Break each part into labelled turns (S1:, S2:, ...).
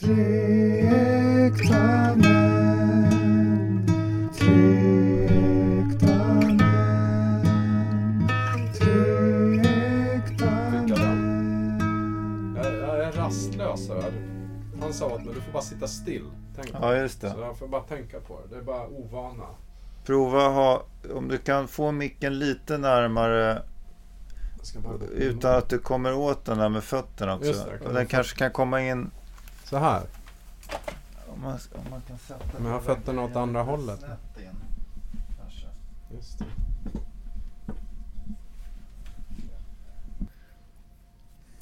S1: Tre äkta män Tre äkta män Tre äkta män
S2: Jag är, jag är rastlös här. Han sa åt mig, du får bara sitta still. Tänk på
S3: Ja, just det.
S2: Så jag får bara tänka på det. Det är bara ovana.
S3: Prova ha, om du kan få micken lite närmare
S2: Jag ska bara...
S3: utan att du kommer åt den där med fötterna också.
S2: Just det, jag kan
S3: Och den kanske kan komma in
S2: Så här.
S3: om man, om man kan sätta
S2: Men har
S3: den
S2: fötterna åt
S3: lite
S2: andra hållet?
S3: snett in, kanske.
S2: Just det.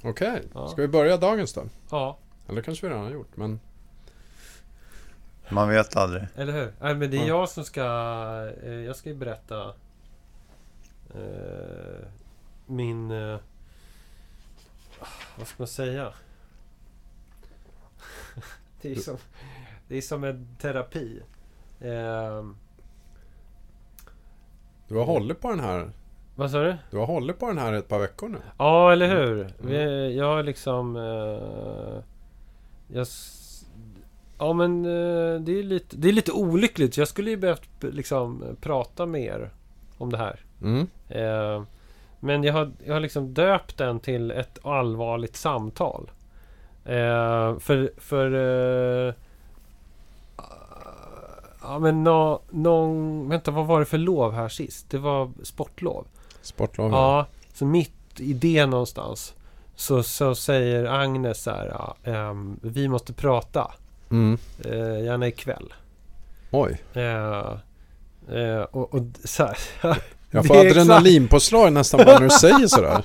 S2: Okej,
S4: Ja.
S2: ska vi börja dagens då?
S4: Ja,
S2: Eller kanske vi redan har gjort, men...
S3: Man vet aldrig.
S4: eller hur? Nej, men det
S2: Ja.
S4: är jag som ska... eh, Jag ska ju berätta... Eh, min... Eh, ah, vad ska man säga? det, är som, det är som en terapi. Eh,
S2: Du har hållit på den här.
S4: vad sa du? Mm.
S2: Du har hållit på den här ett par veckor nu.
S4: Ja, eller hur? Vi, jag har liksom... eh, jag, s- ja, men eh, det, är lite, det är lite olyckligt. Jag skulle ju behövt p- liksom prata mer om det här.
S2: Mm.
S4: Eh, men jag har, jag har liksom döpt den till ett allvarligt samtal. Eh, för... för eh, ja, men nå, någon... Vänta, vad var det för lov här sist? Det var sportlov.
S2: Sportlov.
S4: Ja, så mitt i det någonstans så, så säger Agnes så här, ja, ehm, vi måste prata,
S2: Mm.
S4: eh, gärna ikväll.
S2: Oj.
S4: Eh, eh, och, och d- så här,
S2: Jag
S4: Det
S2: får
S4: är exakt-
S2: adrenalinpåslag nästan bara när du säger sådär.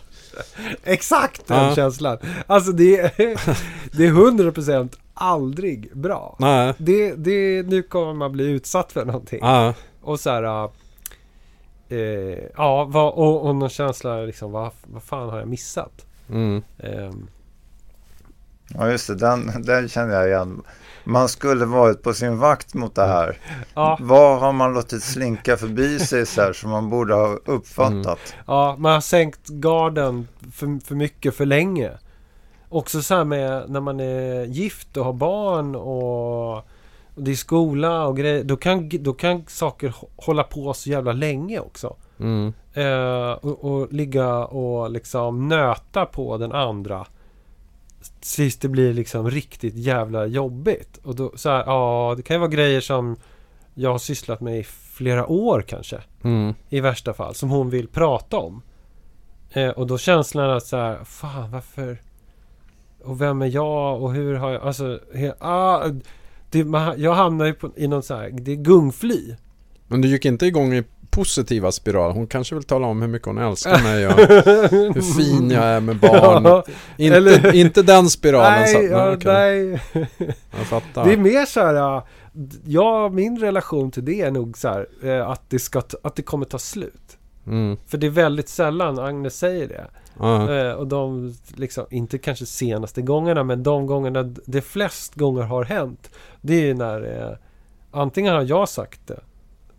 S4: exakt den
S2: Ja.
S4: känslan. Alltså det är, det är 100% aldrig bra.
S2: Nej.
S4: Det, det, nu kommer man bli utsatt för någonting.
S2: Ja.
S4: Och så här... ja, Eh, ja, vad, och, och någon känsla liksom, vad, vad fan har jag missat?
S2: Mm.
S4: Ehm,
S3: Ja, just det. Den, den känner jag igen. Man skulle varit på sin vakt mot det här.
S4: ja.
S3: Vad har man låtit slinka förbi sig så här som man borde ha uppfattat?
S4: Ja, man har sänkt garden för, för mycket för länge. Också så här med när man är gift och har barn och, och det är skola och grejer. Då kan, då kan saker hå- hålla på så jävla länge också.
S2: Mm.
S4: Eh, och, och ligga och liksom nöta på den andra. Tills det blir liksom riktigt jävla jobbigt. Och då så här, ja det kan ju vara grejer som jag har sysslat med i flera år kanske
S2: Mm.
S4: i värsta fall, som hon vill prata om. Eh, och då känslan att så här, fan varför? Och vem är jag och hur har jag, alltså, he, ah, det, man, jag hamnar ju på, i någon så här, det är gungfly.
S2: Men du gick inte igång i positiva spiral. Hon kanske vill tala om hur mycket hon älskar mig och hur fin jag är med barn. Inte,
S4: eller-
S2: inte den spiralen.
S4: nej,
S2: så att,
S4: ja,
S2: okej.
S4: nej.
S2: Jag fattar.
S4: Det är mer så här, ah, d- ja, min relation till det är nog så här, eh, att, det ska, t- att det kommer ta slut.
S2: Mm.
S4: För det är väldigt sällan Agnes säger det.
S2: Ja.
S4: Eh, Och de, liksom, inte kanske senaste gångerna, men de gångerna d- det flest gånger har hänt. Det är ju när eh, antingen har jag sagt det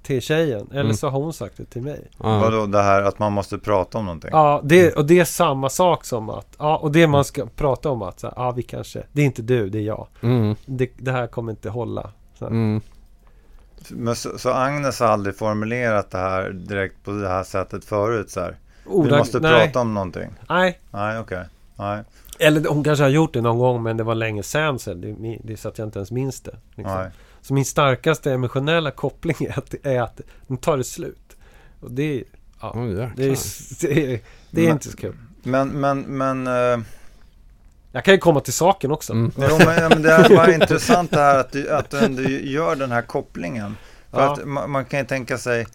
S4: till tjejen eller
S2: Mm.
S4: så har hon sagt det till mig.
S2: Ja.
S3: Vadå det här att man måste prata om någonting?
S4: Ja, det, och det är samma sak som att, ja, och det man ska prata om att, så här, ja vi kanske, det är inte du, det är jag.
S2: Mm.
S4: Det, det här kommer inte hålla. Så här.
S2: Mm.
S3: Men så, så Agnes har aldrig formulerat det här direkt på det här sättet förut så här. Vi
S4: Ordag-
S3: måste
S4: nej,
S3: prata om någonting.
S4: Nej,
S3: Nej, okej. Nej,
S4: eller hon kanske har gjort det någon gång men det var länge sen så det, det är så att jag inte ens minns det. Liksom.
S3: nej.
S4: Så min starkaste emotionella koppling är att, är att den tar det slut. Och det, är- ja,
S2: Oj, jäklar.
S4: det är, det är, det är
S3: Men-
S4: inte så kul.
S3: Men, men, men. Eh,
S4: Jag kan ju komma till saken också.
S2: Mm.
S3: jo, men, ja, men det är bara intressant det här att du, att du ändå gör den här kopplingen. För
S4: Ja.
S3: att man, man kan ju tänka sig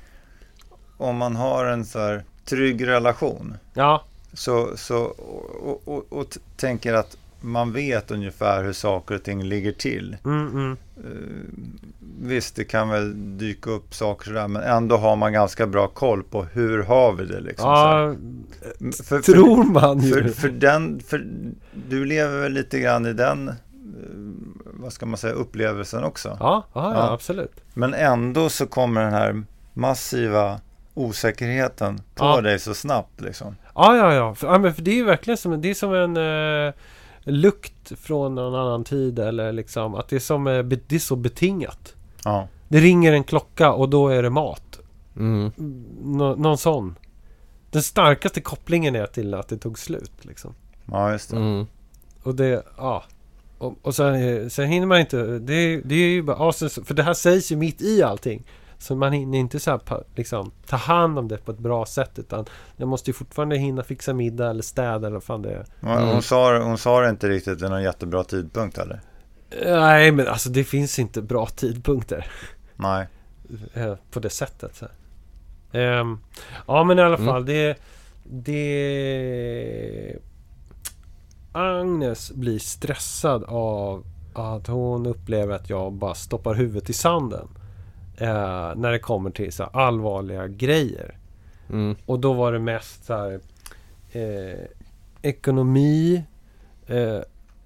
S3: om man har en så här trygg relation.
S4: Ja,
S3: Så, så, och, och, och, och t- tänker att man vet ungefär hur saker och ting ligger till.
S4: mm, mm.
S3: Eh, Visst, det kan väl dyka upp saker sådär, men ändå har man ganska bra koll på hur har vi det liksom. så här.
S4: ja
S3: M- för,
S4: tror man
S3: för, för,
S4: ju.
S3: för den, för du lever väl lite grann i den, eh, vad ska man säga, upplevelsen också.
S4: Ja, ja, ja,
S3: Ja.
S4: absolut.
S3: Men ändå så kommer den här massiva osäkerheten på
S4: Ja.
S3: dig så snabbt liksom.
S4: Ja, ja, ja. För, ja men för det är ju verkligen som, det är som en... Eh, lukt från någon annan tid eller liksom att det är, som, eh, be- det är så betingat.
S3: Ja.
S4: Det ringer en klocka och då är det mat.
S2: Mm.
S4: Nå, någon sån. Den starkaste kopplingen är till att det tog slut liksom.
S3: ja, just det.
S2: Mm.
S4: Och det, ja. Och, och sen, eh, sen hinner man inte, det, är- det är ju bara, ja, sen, så- för det här sägs ju mitt i allting. Så man hinner inte så här, pa- liksom, ta hand om det på ett bra sätt utan jag måste ju fortfarande hinna fixa middag eller städa eller vad fan det är.
S3: Hon,
S2: Mm.
S3: hon, sa, hon sa det inte riktigt vid någon jättebra tidpunkt heller.
S4: Nej men alltså det finns inte bra tidpunkter
S3: Nej.
S4: eh, på det sättet. Så. här. Ehm, ja men i alla
S2: Mm.
S4: fall det... Det... Agnes blir stressad av att hon upplever att jag bara stoppar huvudet i sanden. eh, när det kommer till så här allvarliga grejer.
S2: Mm.
S4: Och då var det mest så här, eh, ekonomi eh,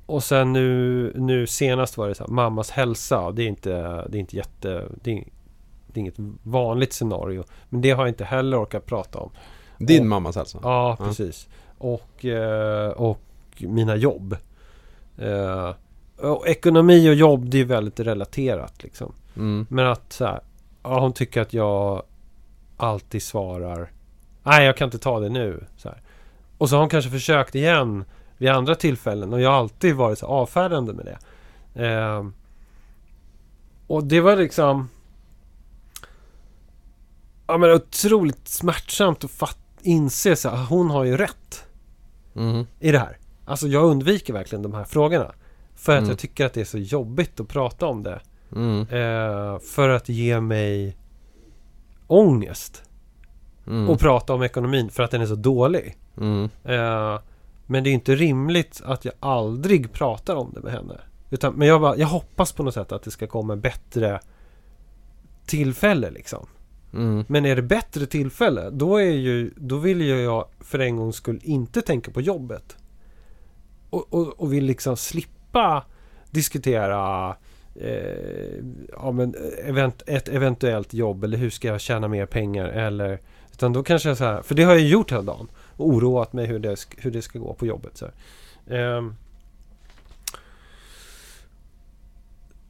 S4: och sen nu, nu senast var det så här, mammas hälsa. Det är inte, det är inte jätte... Det är, det är inget vanligt scenario. Men det har jag inte heller orkat prata om.
S2: Din
S4: Och-
S2: mammas hälsa?
S4: Ja,
S2: Ja.
S4: precis. Och, eh, och mina jobb. Eh, och ekonomi och jobb, det är väldigt relaterat liksom.
S2: Mm.
S4: Men att så här, ja, hon tycker att jag alltid svarar Nej, jag kan inte ta det nu. Så här. Och så har hon kanske försökt igen vid andra tillfällen och jag har alltid varit så avfärdande med det. Ehm, och det var liksom ja, men otroligt smärtsamt att fatt, inse så här, hon har ju rätt
S2: Mm.
S4: i det här. Alltså jag undviker verkligen de här frågorna. För att
S2: Mm.
S4: jag tycker att det är så jobbigt att prata om det.
S2: Mm.
S4: Eh, för att ge mig ångest
S2: Mm.
S4: och prata om ekonomin för att den är så dålig.
S2: Mm.
S4: Eh, men det är inte rimligt att jag aldrig pratar om det med henne. Utan, men jag, bara, jag hoppas på något sätt att det ska komma bättre tillfälle liksom.
S2: Mm.
S4: Men är det bättre tillfälle, då, är ju, då vill ju jag för en gångs skull inte tänka på jobbet. Och, och, och vill liksom slippa diskutera eh, ja, men event, ett eventuellt jobb eller hur ska jag tjäna mer pengar eller utan då kanske jag så här, för det har jag ju gjort hela dagen och oroat mig hur det, sk- hur det ska gå på jobbet. Så, här. Ehm.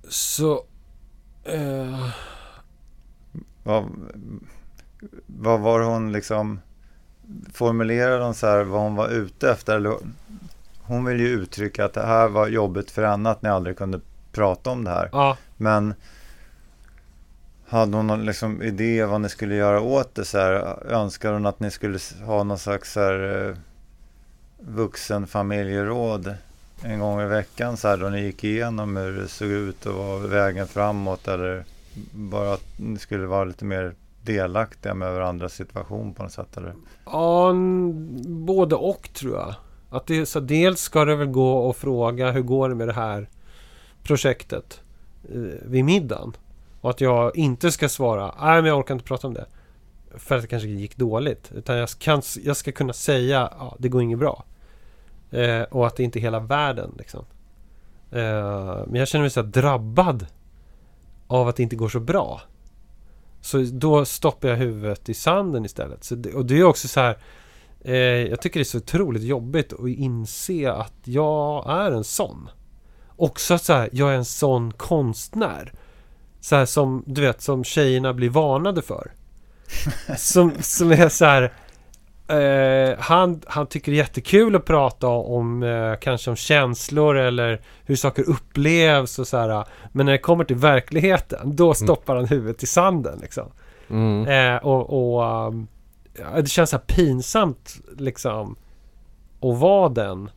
S4: så eh,
S3: Vad, vad var hon liksom... Formulerade hon så här vad hon var ute efter? Eller, hon ville ju uttrycka att det här var jobbigt för henne att ni aldrig kunde prata om det här.
S4: ja.
S3: Men hade hon någon liksom idé vad ni skulle göra åt det? Så här, önskade hon att ni skulle s- ha någon slags så här, eh, vuxenfamiljeråd en gång i veckan? Så här, då ni gick igenom hur det såg ut och vad vägen framåt? Eller bara att ni skulle vara lite mer delaktiga med varandras situation på något sätt? Eller?
S4: Ja, n- både och tror jag. Att det, så dels ska det väl gå att fråga hur går det med det här projektet eh, vid middagen. Och att jag inte ska svara nej men jag orkar inte prata om det. För att det kanske gick dåligt. Utan jag, kan, jag ska kunna säga ja, det går inget bra. Eh, och att det inte är hela världen. Liksom. Eh, men jag känner mig så här drabbad av att det inte går så bra. Så då stoppar jag huvudet i sanden istället. Så det, och det är också så här. Eh, jag tycker det är så otroligt jobbigt att inse att jag är en sån. Också att så här, jag är en sån konstnär. Så här som, du vet, som tjejerna blir varnade för. Som, som är så här. Eh, han, han tycker det är jättekul att prata om eh, kanske om känslor eller hur saker upplevs och så här. Men när det kommer till verkligheten, då stoppar han huvudet i sanden liksom.
S2: Mm.
S4: Eh, och och um, ja, det känns så här pinsamt liksom att vara den.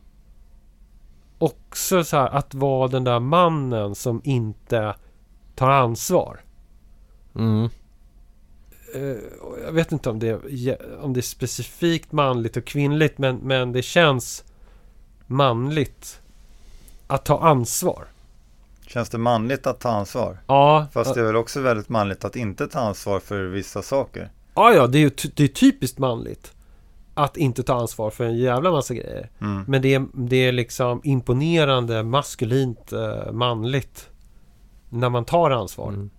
S4: Också så här att vara den där mannen som inte tar ansvar.
S2: Mm.
S4: Eh, och jag vet inte om det, är je- om det är specifikt manligt och kvinnligt men, men det känns manligt att ta ansvar.
S3: Känns det manligt att ta ansvar?
S4: Ja,
S3: Fast det är väl också väldigt manligt att inte ta ansvar för vissa saker?
S4: ja, ja det är ju ty- det är typiskt manligt att inte ta ansvar för en jävla massa grejer.
S3: Mm.
S4: Men det är, det är liksom imponerande maskulint eh, manligt när man tar ansvar.
S2: Mm.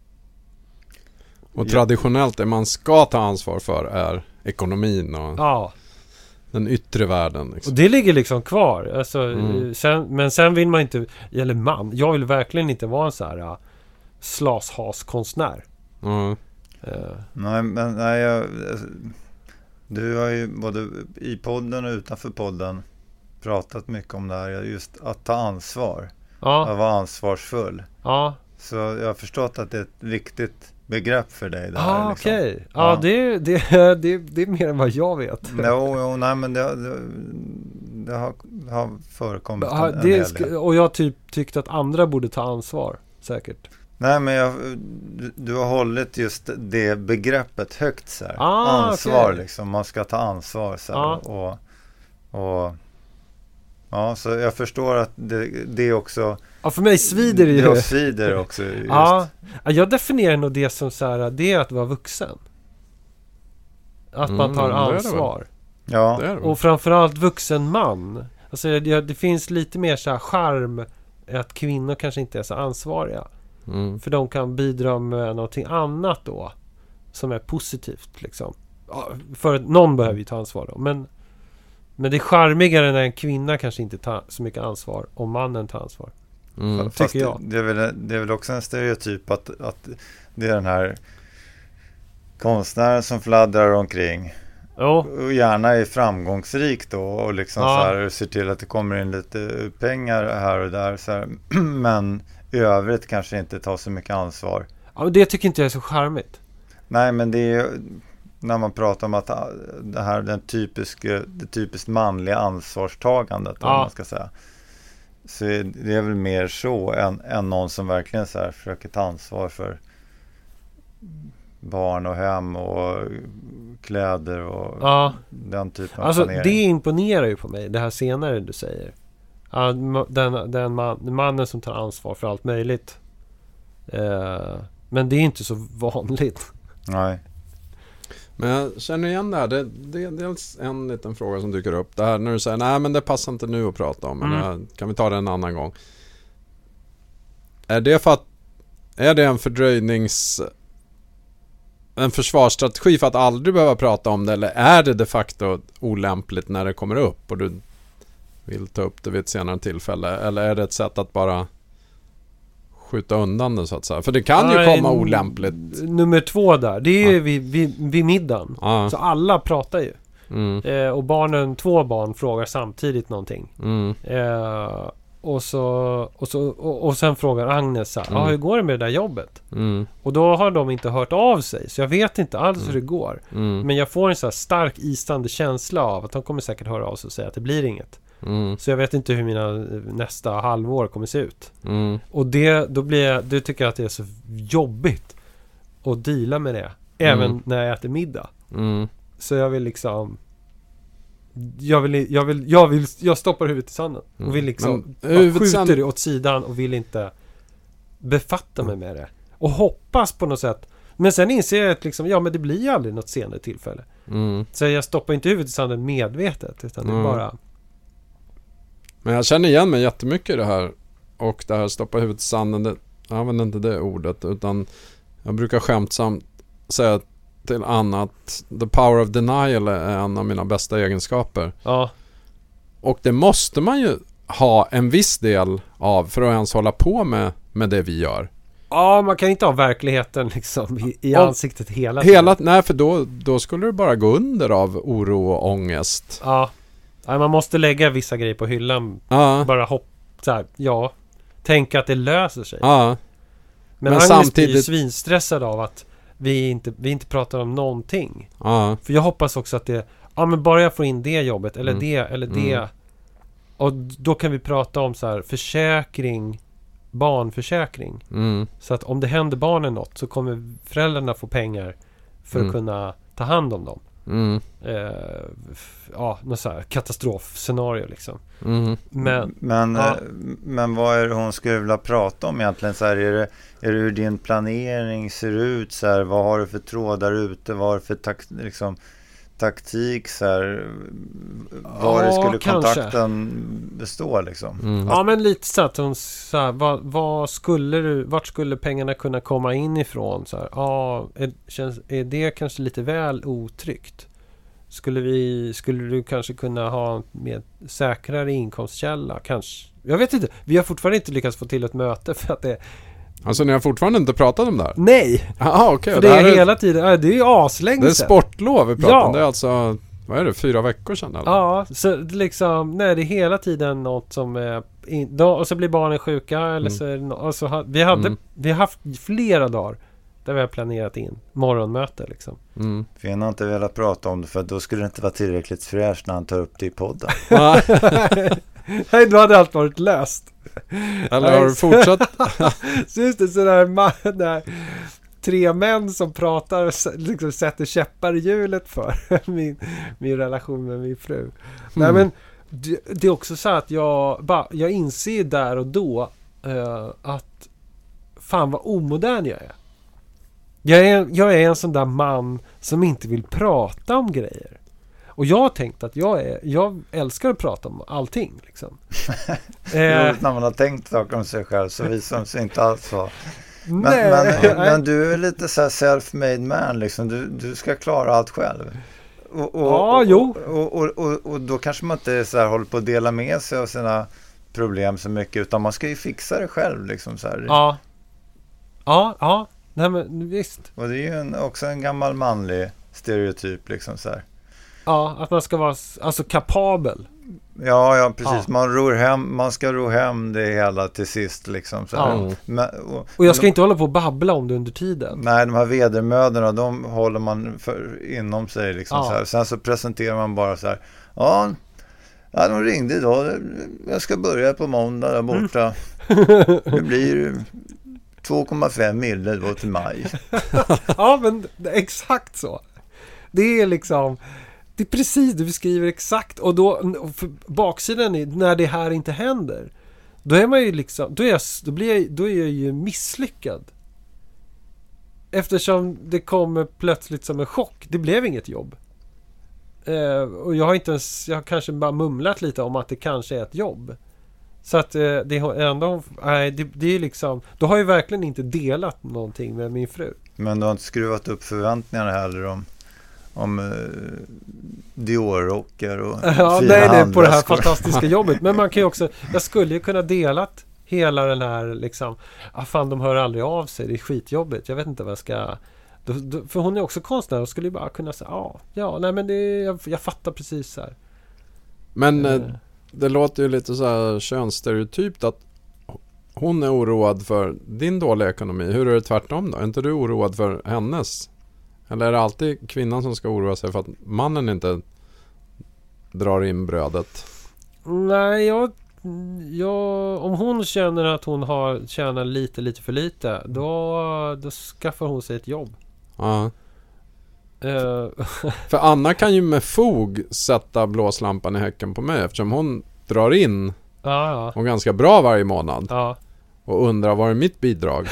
S2: Och traditionellt det man ska ta ansvar för är ekonomin och
S4: Ja,
S2: Den yttre världen.
S4: Och
S2: Liksom.
S4: det ligger liksom kvar. Alltså,
S2: Mm.
S4: eh, sen, men sen vill man inte, eller man, jag vill verkligen inte vara en så här uh, slashaskonstnär.
S2: Ja.
S4: Eh,
S3: Nej, men nej, jag, du har ju både i podden och utanför podden pratat mycket om det här. Just att ta ansvar.
S4: ja,
S3: Att vara ansvarsfull.
S4: ja.
S3: Så jag har förstått att det är ett viktigt begrepp för dig. Det här,
S4: Ah,
S3: liksom.
S4: okej. Ja,
S3: Ja.
S4: det, det, det, det är mer än vad jag vet.
S3: Jo, jo, nej men det, det, det, har, det har förekommit
S4: Ja,
S3: en, en
S4: det
S3: hel
S4: sk-
S3: del.
S4: och jag typ tyckte att andra borde ta ansvar. Säkert.
S3: Nej, men jag, du- du har hållit just det begreppet högt så här.
S4: Ah,
S3: ansvar
S4: okej. Ah.
S3: liksom, man ska ta ansvar så här.
S4: Ja.
S3: Och, och, ja, så jag förstår att det, det också
S4: Ja, för mig svider Ah. det ju.
S2: Mm,
S3: det svider också. Just.
S4: Ja, Ja, jag definierar nog det som så här, det är att vara vuxen. Att man
S2: Mm,
S4: tar
S2: det är det väl. Mm.
S4: ansvar.
S3: ja.
S2: Det är det väl.
S4: Och framförallt vuxen man. Alltså det, det finns lite mer så här charm att kvinnor kanske inte är så ansvariga.
S2: Mm.
S4: För de kan bidra med någonting annat då. Som är positivt liksom. Ja, För att någon behöver ju ta ansvar då. Men, men det är charmigare när en kvinna kanske inte tar så mycket ansvar. Och mannen tar ansvar.
S2: Mm.
S3: Fast
S4: tycker jag.
S3: Det, det, är väl, det är väl också en stereotyp att, att det är den här konstnären som fladdrar omkring.
S4: Jo,
S3: Och gärna är framgångsrik då och liksom
S4: Ja.
S3: så här, ser till att det kommer in lite pengar här och där. Så här. Men i övrigt kanske inte tar så mycket ansvar.
S4: ja, men det tycker inte jag är så charmigt.
S3: Nej, men det är ju när man pratar om att ah, det här den typiska, det typiskt manliga ansvarstagandet,
S4: Ja.
S3: om man ska säga. Så är- det är väl mer så än, än någon som verkligen så här försöker ta ansvar för barn och hem och kläder och
S4: Ja.
S3: den typen av
S4: Alltså
S3: planering.
S4: det imponerar ju på mig, det här senare du säger. Ja, ma- Den, den man, mannen som tar ansvar för allt möjligt. Eh, men det är inte så vanligt.
S3: Nej.
S2: Men jag känner igen det här. Det, det är dels en liten fråga som dyker upp. Det här när du säger nej men det passar inte nu att prata om. Men
S4: Mm.
S2: det här, kan vi ta det en annan gång? Är det för att... Är det en fördröjnings... En försvarsstrategi för att aldrig behöva prata om det? Eller är det de facto olämpligt när det kommer upp och du vill ta upp det vid ett senare tillfälle? Eller är det ett sätt att bara skjuta undan det så att säga? För det kan ju
S4: Nej,
S2: komma
S4: n-
S2: olämpligt.
S4: Nummer två där, det är ju vid, vid, vid middagen.
S2: Ja.
S4: Så alla pratar ju.
S2: Mm,
S4: Eh, och barnen, två barn frågar samtidigt någonting.
S2: mm,
S4: Eh, och, så, och, så, och, och sen frågar Agnes så här,
S2: Mm.
S4: ah, hur går det med det där jobbet?
S2: mm,
S4: Och då har de inte hört av sig, så jag vet inte alls hur det går.
S2: mm.
S4: Men jag får en så här stark isande känsla av att de kommer säkert höra av sig och säga att det blir inget.
S2: Mm,
S4: Så jag vet inte hur mina eh, nästa halvår kommer se ut.
S2: mm,
S4: Och det, då blir jag, du tycker jag att det är så jobbigt att deala med det. Även
S2: Mm.
S4: när jag äter middag.
S2: mm.
S4: Så jag vill liksom... Jag vill, jag vill, jag vill, jag stoppar huvudet i sanden.
S2: Mm.
S4: Och vill liksom,
S2: Men
S4: bara
S2: huvudet
S4: skjuter
S2: sand-
S4: det åt sidan och vill inte befatta mig
S2: Mm.
S4: med det. Och hoppas på något sätt. Men sen inser jag att liksom, ja men det blir ju aldrig något senare tillfälle.
S2: mm.
S4: Så jag stoppar inte huvudet i sanden medvetet utan det
S2: Mm.
S4: är bara...
S2: Men jag känner igen mig jättemycket i det här. Och det här stoppa huvudet i sanden. Det, jag använder inte det ordet. Utan jag brukar skämtsamt säga till Anna att the power of denial är en av mina bästa egenskaper.
S4: Ja.
S2: Och det måste man ju ha en viss del av för att ens hålla på med, med det vi gör.
S4: Ja, man kan inte ha verkligheten liksom i, i
S2: Och-
S4: ansiktet hela tiden.
S2: Hela, nej, för då, då skulle du bara gå under av oro och ångest.
S4: Ja. Nej, man måste lägga vissa grejer på hyllan.
S2: Ja,
S4: Bara hopp... Så här, ja. Tänka att det löser sig.
S2: ja, men
S4: men Agnes blir ju
S2: samtidigt-
S4: svinstressad av att vi inte, vi inte pratar om någonting.
S2: ja.
S4: För jag hoppas också att det... Ja, men bara jag får in det jobbet eller
S2: Mm.
S4: det eller
S2: Mm.
S4: det. Och då kan vi prata om så här försäkring, barnförsäkring.
S2: Mm,
S4: Så att om det händer barnen något så kommer föräldrarna få pengar för
S2: Mm.
S4: att kunna ta hand om dem.
S2: mm,
S4: Eh, f- ja, något så här katastrofscenario liksom.
S2: mm.
S4: Men
S3: Men,
S4: Ja.
S3: eh, men vad är det hon skulle vilja prata om egentligen? Så här, är, det, är det hur din planering ser ut? Så här, vad har du för trådar ute? Vad har du för tak, liksom, taktik? Så här, var
S4: Ja,
S3: skulle
S4: kanske.
S3: kontakten bestå? Liksom?
S2: Mm.
S4: ja, men lite så att hon så här, vad, vad skulle du, vart skulle pengarna kunna komma in ifrån? Så här, ja, är, känns, är det kanske lite väl otryggt? Skulle, vi, skulle du kanske kunna ha en mer säkrare inkomstkälla? Kanske. Jag vet inte. Vi har fortfarande inte lyckats få till ett möte för att det...
S2: Alltså ni har fortfarande inte pratat om det här?
S4: Nej!
S2: Jaha okej.
S4: för
S2: Det,
S4: det
S2: här
S4: är
S2: är,
S4: hela tiden... ja, Det är ju aslänge
S2: det är
S4: sedan.
S2: sportlov vi pratar om.
S4: Ja.
S2: Det är alltså, vad är det, fyra veckor sedan eller?
S4: Ja, så liksom, nej det är hela tiden något som är... In, då, och så blir barnen sjuka eller
S2: Mm.
S4: så är det nå- och så ha, vi, hade,
S2: Mm.
S4: vi har haft flera dagar där vi har planerat in morgonmöte liksom.
S2: Mm.
S3: För jag har inte velat prata om det för då skulle det inte vara tillräckligt fräscht när han tar upp det i podden.
S2: Nej,
S4: Nej, då hade allt varit löst.
S2: eller har du fortsatt?
S4: Så just det, sådär man, där, tre män som pratar och s- liksom sätter käppar i hjulet för min, min relation med min fru. Nej
S2: Mm.
S4: men det, det är också så här att jag, bara, jag inser ju där och då eh, att fan vad omodern jag är. Jag är, jag är en sån där man som inte vill prata om grejer. Och jag har tänkt att jag, är, jag älskar att prata om allting. Liksom. Eh,
S3: Roligt när man har tänkt saker om sig själv så visar de sig inte alls vara. Men,
S4: nej,
S3: men,
S4: nej.
S3: men du är lite så här self-made man liksom. Du, du ska klara allt själv. Och, och,
S4: Ja,
S3: och,
S4: jo.
S3: Och, och, och, och då kanske man inte så här håller på att dela med sig av sina problem så mycket utan man ska ju fixa det själv liksom så här.
S4: Ja. Ja, ja. Nej men visst.
S3: Och det är ju en, också en gammal manlig stereotyp liksom så här.
S4: Ja, att man ska vara s- alltså kapabel.
S3: Ja, ja precis.
S4: Ja.
S3: Man, ror hem, man ska ro hem det hela till sist. Liksom, så här.
S2: Ja.
S3: Men, och,
S4: Mm. Och jag ska inte hålla på och babbla om det under tiden.
S3: Nej, de här vedermödorna, de håller man för, inom sig. Liksom,
S4: Ja.
S3: så här. Sen så presenterar man bara så här. Ja, ja, de ringde idag. Jag ska börja på måndag där borta.
S4: Mm.
S3: Det blir 2,5 mille då till maj.
S4: Ja, men exakt så. Det är liksom... Det är precis, du beskriver exakt. Och då, och för baksidan är, när det här inte händer. Då är man ju liksom, då är jag, s- då blir jag, då är jag ju misslyckad. Eftersom det kommer plötsligt som en chock. Det blev inget jobb. Eh, och jag har inte ens, jag har kanske bara mumlat lite om att det kanske är ett jobb. Så att eh, det är ändå, nej det, det är liksom, då har jag verkligen inte delat någonting med min fru.
S3: Men du har inte skruvat upp förväntningarna heller om, om eh, Dior-rockar och
S4: Ja,
S3: fina
S4: nej, det är på det här
S3: handväskor.
S4: fantastiska jobbet. Men man kan ju också, jag skulle ju kunna delat hela den här liksom, ah fan de hör aldrig av sig, det är skitjobbigt, jag vet inte vad jag ska... Då, då, för hon är också konstnär och skulle ju bara kunna säga, ja, ja, nej men det, är- jag, jag fattar precis så här.
S2: Men eh,
S4: Eh,
S2: det låter ju lite så här könsstereotypt att hon är oroad för din dåliga ekonomi. Hur är det tvärtom då? Är inte du oroad för hennes? Eller är det alltid kvinnan som ska oroa sig för att mannen inte drar in brödet?
S4: Nej, jag, jag... Om hon känner att hon har, tjänar lite, lite för lite, då, då skaffar hon sig ett jobb.
S2: Ja.
S4: Eh,
S2: För Anna kan ju med fog sätta blåslampan i häcken på mig eftersom hon drar in
S4: ja, ja.
S2: och ganska bra varje månad
S4: Ja,
S2: och undrar vad är mitt bidrag?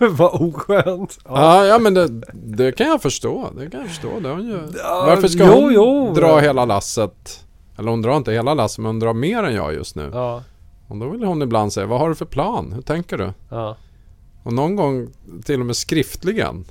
S4: vad oskönt.
S2: Ja, ja men det, det kan jag förstå. Det kan jag förstå. Det har hon ju.
S4: Ja,
S2: Varför ska
S4: jo,
S2: hon
S4: jo.
S2: dra hela lasset? Eller hon drar inte hela lasset, men hon drar mer än jag just nu.
S4: Ja,
S2: Och då vill hon ibland säga, vad har du för plan? Hur tänker du?
S4: ja.
S2: Och någon gång till och med skriftligen.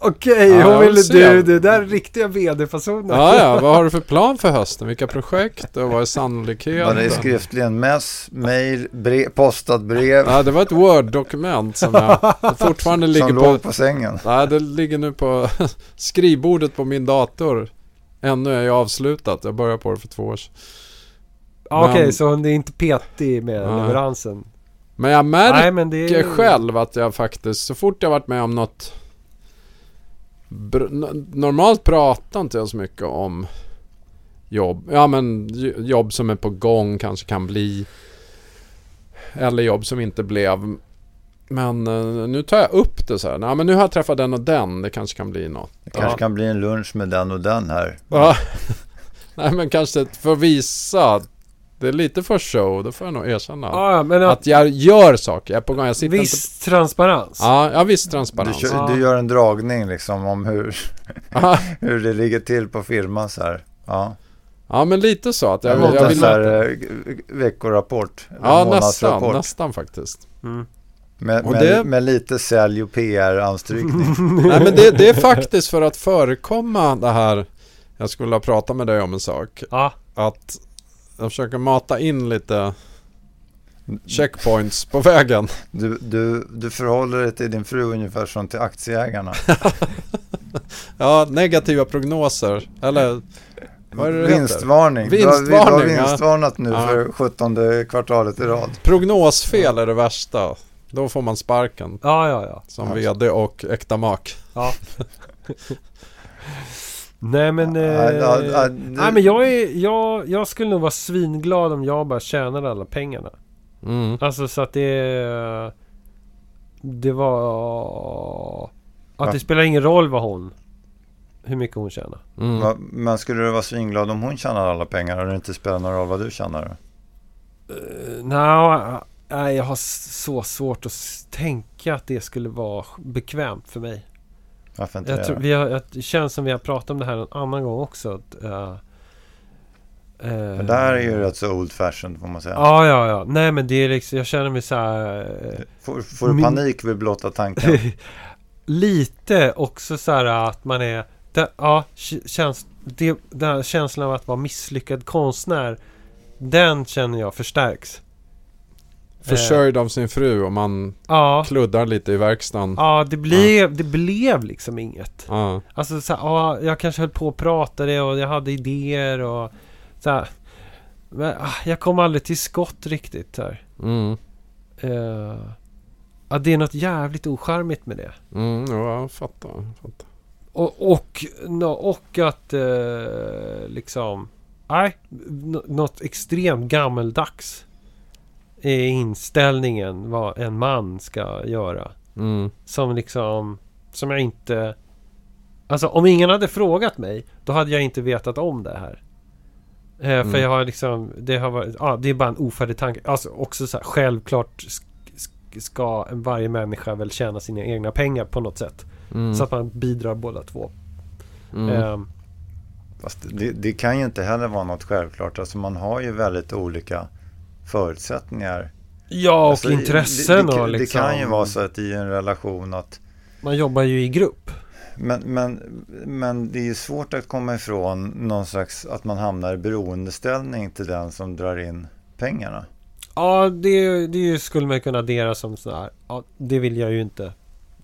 S4: Okej,
S2: Ja, jag
S4: hon ville
S2: vill se.
S4: du, det där är riktiga vd-fasoner.
S2: Ja, ja, vad har du för plan för hösten? Vilka projekt och vad är sannolikheten?
S3: Ja, det är skriftligen mess, mail, brev, postat brev
S2: Ja, det var ett Word-dokument som jag fortfarande ligger
S3: som låg
S2: på...
S3: på sängen.
S2: Nej, det ligger nu på skrivbordet på min dator. Ännu är jag avslutat. Jag började på det för två år sedan.
S4: Ja, Okej,
S2: Men-
S4: så hon är inte petig med
S2: Nej.
S4: leveransen.
S2: Men jag märker
S4: Nej, men det
S2: själv att jag faktiskt, så fort jag varit med om något br- n- Normalt pratar inte jag så mycket om jobb. Ja men j- jobb som är på gång kanske kan bli. Eller jobb som inte blev. Men eh, nu tar jag upp det så här. Nej men nu har jag träffat den och den. Det kanske kan bli något.
S3: Det kanske
S2: Ja.
S3: kan bli en lunch med den och den här.
S2: Ja. Nej men kanske för att visa. Det är lite för show. Det får jag nog erkänna.
S4: Ja, ja, men att,
S2: Att jag gör saker. Jag är på gång. Jag sitter inte
S4: viss transparens.
S2: Ja, ja visst
S3: Du,
S2: transparens.
S3: kör, du gör en dragning liksom om hur,
S2: Ja,
S3: hur det ligger till på firman så här. Ja,
S2: ja, men lite så att
S3: det
S2: jag,
S3: är
S2: vill- jag
S3: en
S2: vill...
S3: så här eh, veckorapport. eller
S2: Ja, nästan,
S3: månadsrapport.
S2: nästan faktiskt.
S4: Mm.
S3: Med,
S2: Och
S3: med,
S2: det-
S3: med lite sälj och PR-anstrykning.
S2: Nej, men det, det är faktiskt för att förekomma det här Jag skulle ha pratat med dig om en sak.
S4: Ja,
S2: Att jag försöker mata in lite checkpoints på vägen.
S3: Du, du, du förhåller dig till din fru ungefär som till aktieägarna.
S2: Ja, negativa prognoser. Eller Vad är det det heter?
S3: vinstvarning. Du har,
S2: Vinstvarning,
S3: vi
S2: ja.
S3: har vinstvarnat nu
S2: Ja.
S3: för 17 kvartalet i rad.
S2: prognosfel är det värsta. Då får man sparken
S4: ja, ja. ja.
S2: som
S3: Ja.
S2: vd och äkta mak.
S4: ja. Nej men... Eh,
S3: Ja, ja, ja, du-
S4: nej men jag, är, jag, jag skulle nog vara svinglad om jag bara tjänade alla pengarna.
S2: Mm.
S4: Alltså så att det... Det var... Att det
S3: Va?
S4: spelar ingen roll vad hon... Hur mycket hon tjänar.
S2: Mm.
S3: Va- Men skulle du vara svinglad om hon tjänar alla pengar och det inte spelar någon roll vad du tjänar?
S4: Uh, Nej, jag har s- så svårt att s- tänka att det skulle vara bekvämt för mig.
S3: Varför inte
S4: Jag tror,
S3: det?
S4: vi har, jag, det känns som vi har pratat om det här en annan gång också. Att, eh, eh,
S3: Det där är ju rätt så old fashioned får man säga.
S4: Ja, ja, ja. Nej, men det är liksom... Jag känner mig så här... eh,
S3: Får, får du
S4: Min-
S3: panik vid blotta tanken?
S4: Lite också så här att man är... Det, ja, k- känns, det, den här känslan av att vara misslyckad konstnär. Den känner jag förstärks.
S2: Försörjd av sin fru och man
S4: Eh, Ja,
S2: kluddar lite i verkstaden.
S4: ja det, blev, det blev liksom inget.
S2: Ja.
S4: Alltså så här, ja, jag kanske höll på och pratade och jag hade idéer och så här. Men ah, jag kom aldrig till skott riktigt här.
S2: Mm.
S4: Eh, ja, det är något jävligt ocharmigt med det.
S2: Mm, ja, jag fattar. Jag fattar.
S4: Och, och, nå- och att eh, liksom... Nej, nå- något extremt gammeldags är inställningen vad en man ska göra.
S2: Mm.
S4: Som liksom... Som jag inte... Alltså om ingen hade frågat mig, då hade jag inte vetat om det här. Eh, för
S2: Mm.
S4: jag har liksom... Det har varit... Ja, det är bara en ofärdig tanke. Alltså också så här, självklart sk- sk- ska varje människa väl tjäna sina egna pengar på något sätt.
S2: Mm.
S4: Så att man bidrar båda två.
S2: Mm.
S4: Ehm,
S3: Fast det, det kan ju inte heller vara något självklart. Alltså man har ju väldigt olika förutsättningar.
S4: ja, och
S3: Alltså,
S4: intressen
S3: det, det,
S4: och
S3: det,
S4: liksom.
S3: Det kan ju vara så att i en relation att
S4: Man jobbar ju i grupp.
S3: Men, men, men det är ju svårt att komma ifrån någon slags, att man hamnar i beroendeställning till den som drar in pengarna.
S4: Ja, det, det skulle man kunna addera som sådär. Ja, det vill jag ju inte.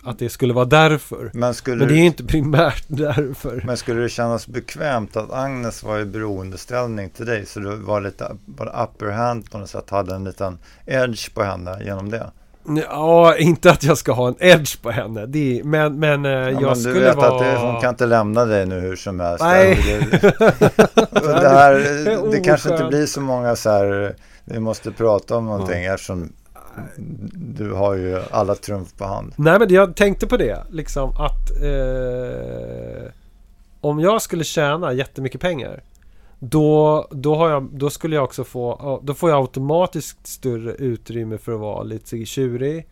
S4: Att det skulle vara därför.
S3: Men skulle,
S4: Men det är ju inte primärt därför.
S3: men skulle det kännas bekvämt att Agnes var i beroendeställning till dig så du var lite var upper hand på något sätt, hade en liten edge på henne genom det?
S4: Ja, inte att jag ska ha en edge på henne. Det är, men men eh, jag
S3: Ja, men du
S4: skulle
S3: vet
S4: vara...
S3: att det, hon kan inte lämna dig nu hur som helst. Alltså,
S4: Nej.
S3: Det, och det, här,
S4: Det är
S3: det, kanske inte
S4: oskönt.
S3: blir så många så här, vi måste prata om någonting eftersom du har ju alla trumf på hand.
S4: Nej, men jag tänkte på det. Liksom att... Eh, om jag skulle tjäna jättemycket pengar. Då, då, har jag, då skulle jag också få... ja, Då får jag automatiskt större utrymme för att vara lite tjurig.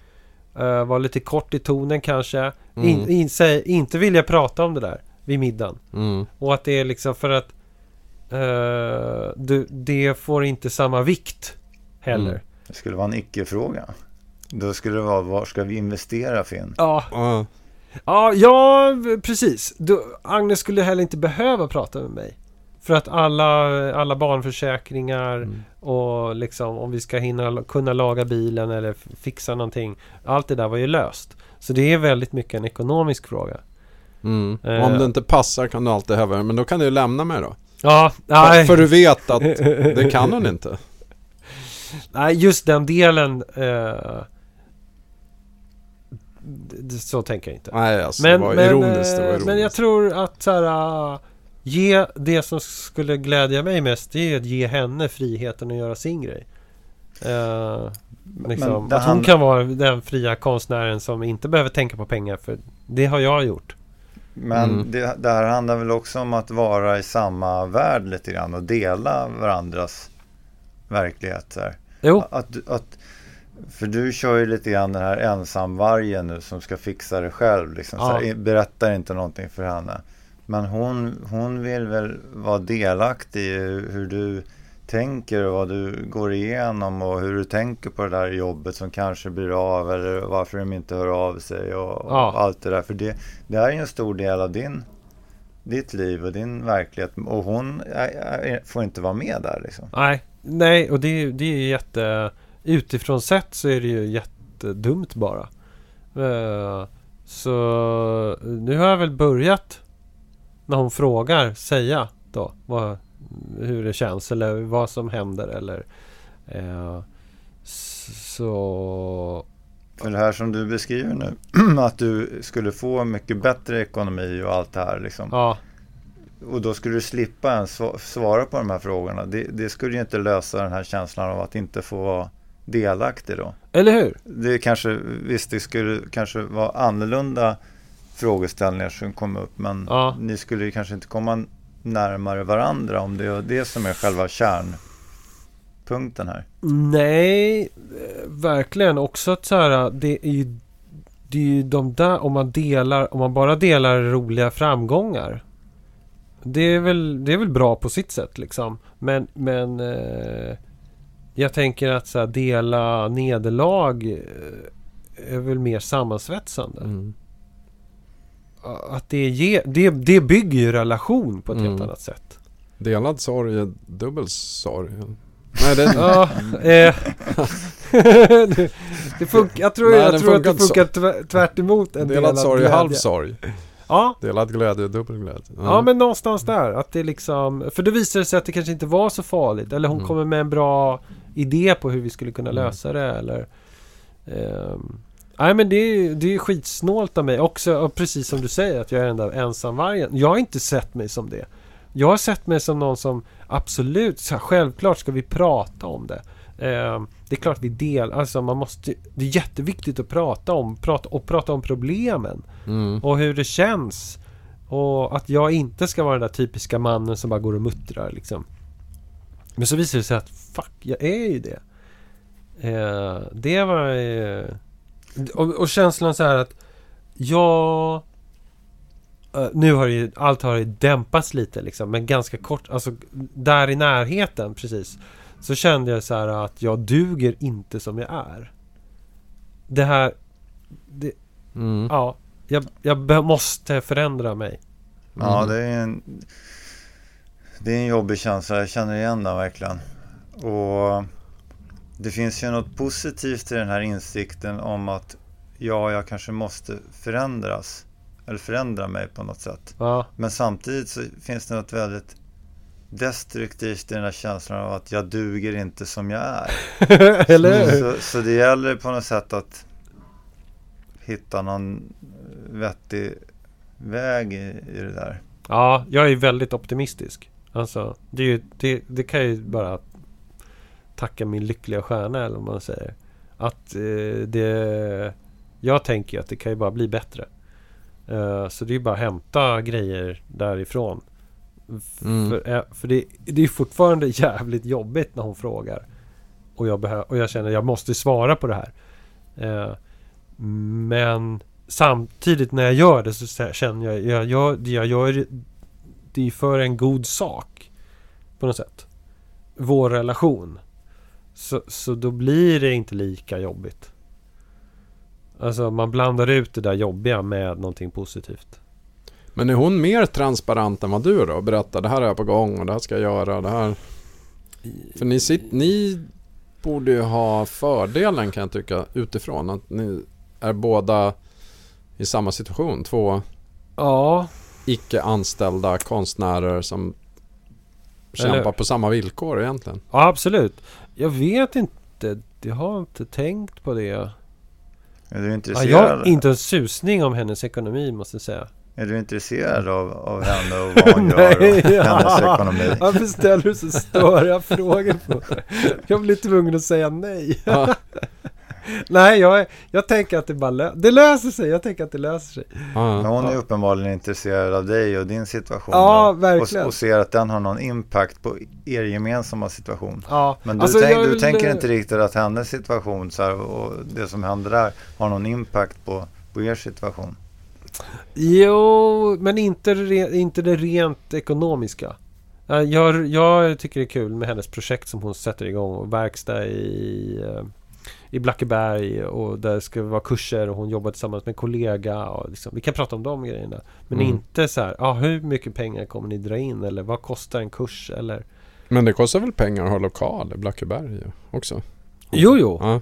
S4: Eh, vara lite kort i tonen kanske. In,
S2: Mm.
S4: in, säg, inte vilja prata om det där vid middagen.
S2: Mm.
S4: Och att det är liksom för att... Eh, du, det får inte samma vikt heller.
S2: Mm.
S3: Det skulle vara en icke-fråga. Då skulle det vara, var ska vi investera Finn?
S4: Ja,
S2: Ja.
S4: Ja, ja precis. Du, Agnes skulle heller inte behöva prata med mig. För att alla, alla barnförsäkringar
S2: Mm.
S4: och liksom om vi ska hinna kunna laga bilen eller f- fixa någonting. Allt det där var ju löst. Så det är väldigt mycket en ekonomisk fråga.
S2: Mm.
S4: Eh.
S2: Om det inte passar kan du alltid häva det. Men då kan du ju lämna mig då.
S4: Ja,
S2: För,
S4: nej,
S2: för du vet att det kan hon inte.
S4: nej just den delen. Eh, d- d- så tänker jag inte.
S2: Nej, alltså
S4: men,
S2: det var
S4: men,
S2: ironiskt. Det var
S4: eh,
S2: ironiskt.
S4: men jag tror att så här, ah, ge det som skulle glädja mig mest det är att ge henne friheten att göra sin grej. Eh, liksom,
S3: det
S4: att hon
S3: hand-
S4: kan vara den fria konstnären som inte behöver tänka på pengar för det har jag gjort.
S3: Men
S2: Mm.
S3: det, det här handlar väl också om att vara i samma värld lite grann och dela varandras verkligheter.
S4: Jo,
S3: Att, du- att, för du kör ju lite grann den här ensamvargen nu som ska fixa det själv. Liksom,
S4: Ja.
S3: så här, i- berättar inte någonting för henne. Men hon, hon vill väl vara delaktig i hur du tänker och vad du går igenom och hur du tänker på det där jobbet som kanske blir av eller varför de inte hör av sig och, och
S4: Ja.
S3: allt det där. För det, det här är ju en stor del av din ditt liv och din verklighet. Och hon eh, eh, får inte vara med där liksom.
S4: Nej, nej och det, är ju- det är ju jätte... Utifrån sett så är det ju jättedumt bara. Eh, Så nu har jag väl börjat när hon frågar säga då vad, hur det känns eller vad som händer eller eh, s- så...
S3: För det här som du beskriver nu, att du skulle få mycket bättre ekonomi och allt det här liksom.
S4: Ja,
S3: Och då skulle du slippa ens sva- svara på de här frågorna. Det, det skulle ju inte lösa den här känslan av att inte få vara delaktig då.
S4: eller hur?
S3: Det kanske, visst det skulle kanske vara annorlunda frågeställningar som kom upp men
S4: Ja.
S3: ni skulle ju kanske inte komma närmare varandra om det är det som är själva kärnpunkten här.
S4: Nej, eh, verkligen också att så här, det är ju, det är ju de där, om man delar, om man bara delar roliga framgångar. Det är väl, det är väl bra på sitt sätt liksom. Men, men eh, jag tänker att så här, dela nederlag eh, är väl mer sammansvetsande.
S2: Mm.
S4: Att det, ge, det, det bygger ju relation på ett helt
S2: Mm.
S4: annat sätt.
S2: Delad sorg är dubbel sorg. Nej, det,
S4: Ja, eh, det, det funkar, jag tror,
S2: Nej,
S4: jag
S2: den
S4: tror att det
S2: funkar inte så.
S4: funkar tvärt, tvärt emot en
S2: delad sorg är
S4: glädje.
S2: halv sorg.
S4: Ja,
S2: Delad glädje är dubbel glädje.
S4: ja, men någonstans där. Att det liksom, för då visar det sig att det kanske inte var så farligt. Eller hon
S2: Mm.
S4: kommer med en bra idé på hur vi skulle kunna
S2: Mm.
S4: lösa det. Eller, ehm, nej, men det är, ju- det är ju skitsnålt av mig. Också, och precis som du säger, att jag är den där ensamvargen. Jag har inte sett mig som det. Jag har sett mig som någon som absolut, så här, självklart ska vi prata om det. Ehm, det är klart vi delar, alltså man måste, det är jätteviktigt att prata om, prata, och prata om problemen.
S2: Mm.
S4: Och hur det känns. Och att jag inte ska vara den där typiska mannen som bara går och muttrar liksom. Men så visar det sig att fuck, jag är ju det. Eh, det var ju... Och, och känslan så här att jag... Eh, nu har det ju, allt har ju dämpats lite liksom, men ganska kort, alltså där i närheten precis. Så kände jag så här att jag duger inte som jag är. Det här,
S2: Mm.
S4: ja, jag, jag be- måste förändra mig.
S3: Ja,
S2: Mm.
S3: det är, en, det är en jobbig känsla. Jag känner igen den verkligen. Och det finns ju något positivt i den här insikten om att ja, jag kanske måste förändras. Eller förändra mig på något sätt.
S4: Ja,
S3: Men samtidigt så finns det något väldigt destruktivt i den här känslan av att jag duger inte som jag är.
S4: eller hur?
S3: Så, så det gäller på något sätt att hitta någon vettig väg i, i det där.
S4: Ja, jag är väldigt optimistisk. Alltså, det, är ju, det, det kan jag ju bara tacka min lyckliga stjärna eller vad man säger. Att eh, det... Jag tänker ju att det kan ju bara bli bättre. Eh, så det är ju bara att hämta grejer därifrån. F-
S2: Mm.
S4: För, eh, för det, det är ju fortfarande jävligt jobbigt när hon frågar. Och jag, behö- och jag känner att jag måste svara på det här. Eh, men samtidigt när jag gör det så sä- känner jag jag gör, det jag gör det är för en god sak. På något sätt. Vår relation. Så, så då blir det inte lika jobbigt. Alltså man blandar ut det där jobbiga med någonting positivt.
S2: Men är hon mer transparent än vad du är då? Berätta, det här är jag på gång och det här ska jag göra. Det här. För ni, sitt, ni borde ju ha fördelen kan jag tycka utifrån. Att ni är båda i samma situation. Två
S4: Ja,
S2: icke anställda konstnärer som
S4: Eller-
S2: kämpar på samma villkor egentligen.
S4: ja absolut. Jag vet inte. Jag har inte tänkt på det.
S3: Är du
S4: Ja,
S3: intresserad?
S4: jag har inte en susning om hennes ekonomi måste jag säga.
S3: Är du intresserad av, av henne och vad hon gör och
S4: Nej, ja.
S3: hennes ekonomi?
S4: Varför ställer du så störiga frågor på mig? Jag blir tvungen att säga nej.
S2: Ja.
S4: nej, jag, är- jag tänker att det bara lö- det löser sig. Jag tänker att det löser sig.
S3: Men
S2: Ja.
S3: hon är uppenbarligen intresserad av dig och din situation.
S4: Ja,
S3: och,
S4: verkligen.
S3: Och, och ser att den har någon impact på er gemensamma situation.
S4: Ja,
S3: Men du,
S4: alltså,
S3: tänk,
S4: jag
S3: du
S4: vill-
S3: tänker inte riktigt att hennes situation så här, och det som händer där har någon impact på, på er situation?
S4: Jo, men inte, re, inte det rent ekonomiska. Eh, Jag, jag tycker det är kul med hennes projekt som hon sätter igång och verkstad i, eh, i Blackeberg och där ska vara kurser och hon jobbar tillsammans med en kollega. Och liksom, vi kan prata om de grejerna. Men
S2: Mm.
S4: inte så här, ah, hur mycket pengar kommer ni dra in eller vad kostar en kurs eller?
S2: Men det kostar väl pengar att ha lokal i Blackeberg ju också?
S4: Jo, jo.
S2: Ja,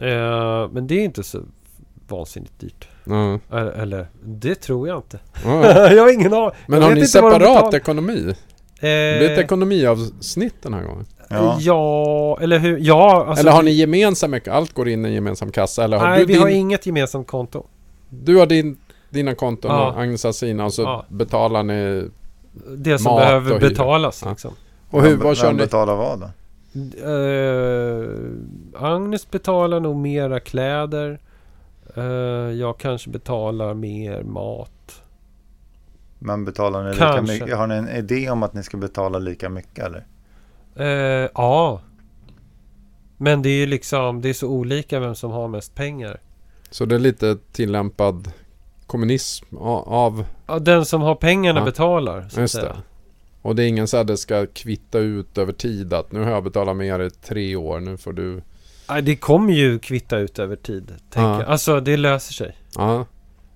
S4: Eh, men det är inte så vansinnigt dyrt.
S2: ja,
S4: Eller, eller det tror jag inte.
S2: ja.
S4: jag har ingen aning.
S2: Men
S4: jag
S2: har
S4: vet
S2: ni
S4: inte vad de
S2: separat
S4: betalar.
S2: ekonomi? Det blir ett
S4: Eh,
S2: ekonomiavsnitt den här gången.
S3: Ja.
S4: Ja, eller hur? Ja, alltså,
S2: eller har ni gemensam ek- Allt går in i en gemensam kassa? Eller har
S4: Nej,
S2: du,
S4: vi
S2: din,
S4: har inget gemensamt konto.
S2: du har din, dina konton
S4: Ja.
S2: och Agnes har sina och så
S4: Ja.
S2: betalar ni...
S4: Det som
S2: Mat och
S4: behöver
S2: hyra.
S4: betalas
S2: Ja.
S4: liksom.
S2: Och hur,
S3: Vem-
S2: vad kör
S3: vem
S2: ni?
S3: betalar vad då?
S4: Eh, Agnes betalar nog mera kläder. Eh, jag kanske betalar mer mat.
S3: Men betalar ni lika
S4: Kanske.
S3: mycket? Har ni en idé om att ni ska betala lika mycket eller?
S4: Eh, ja. Men det är ju liksom, det är så olika vem som har mest pengar.
S2: Så det är lite tillämpad kommunism a- av...
S4: Ja, Den som har pengarna
S2: Ja.
S4: betalar. Så att
S2: Just
S4: säga.
S2: det. Och det är ingen så här det ska kvitta ut över tid att nu har jag betalat mer i tre år, nu får du...
S4: Nej, det kommer ju kvitta ut över tid. Tänker
S2: Ja.
S4: jag. Alltså, det löser sig.
S2: Ja,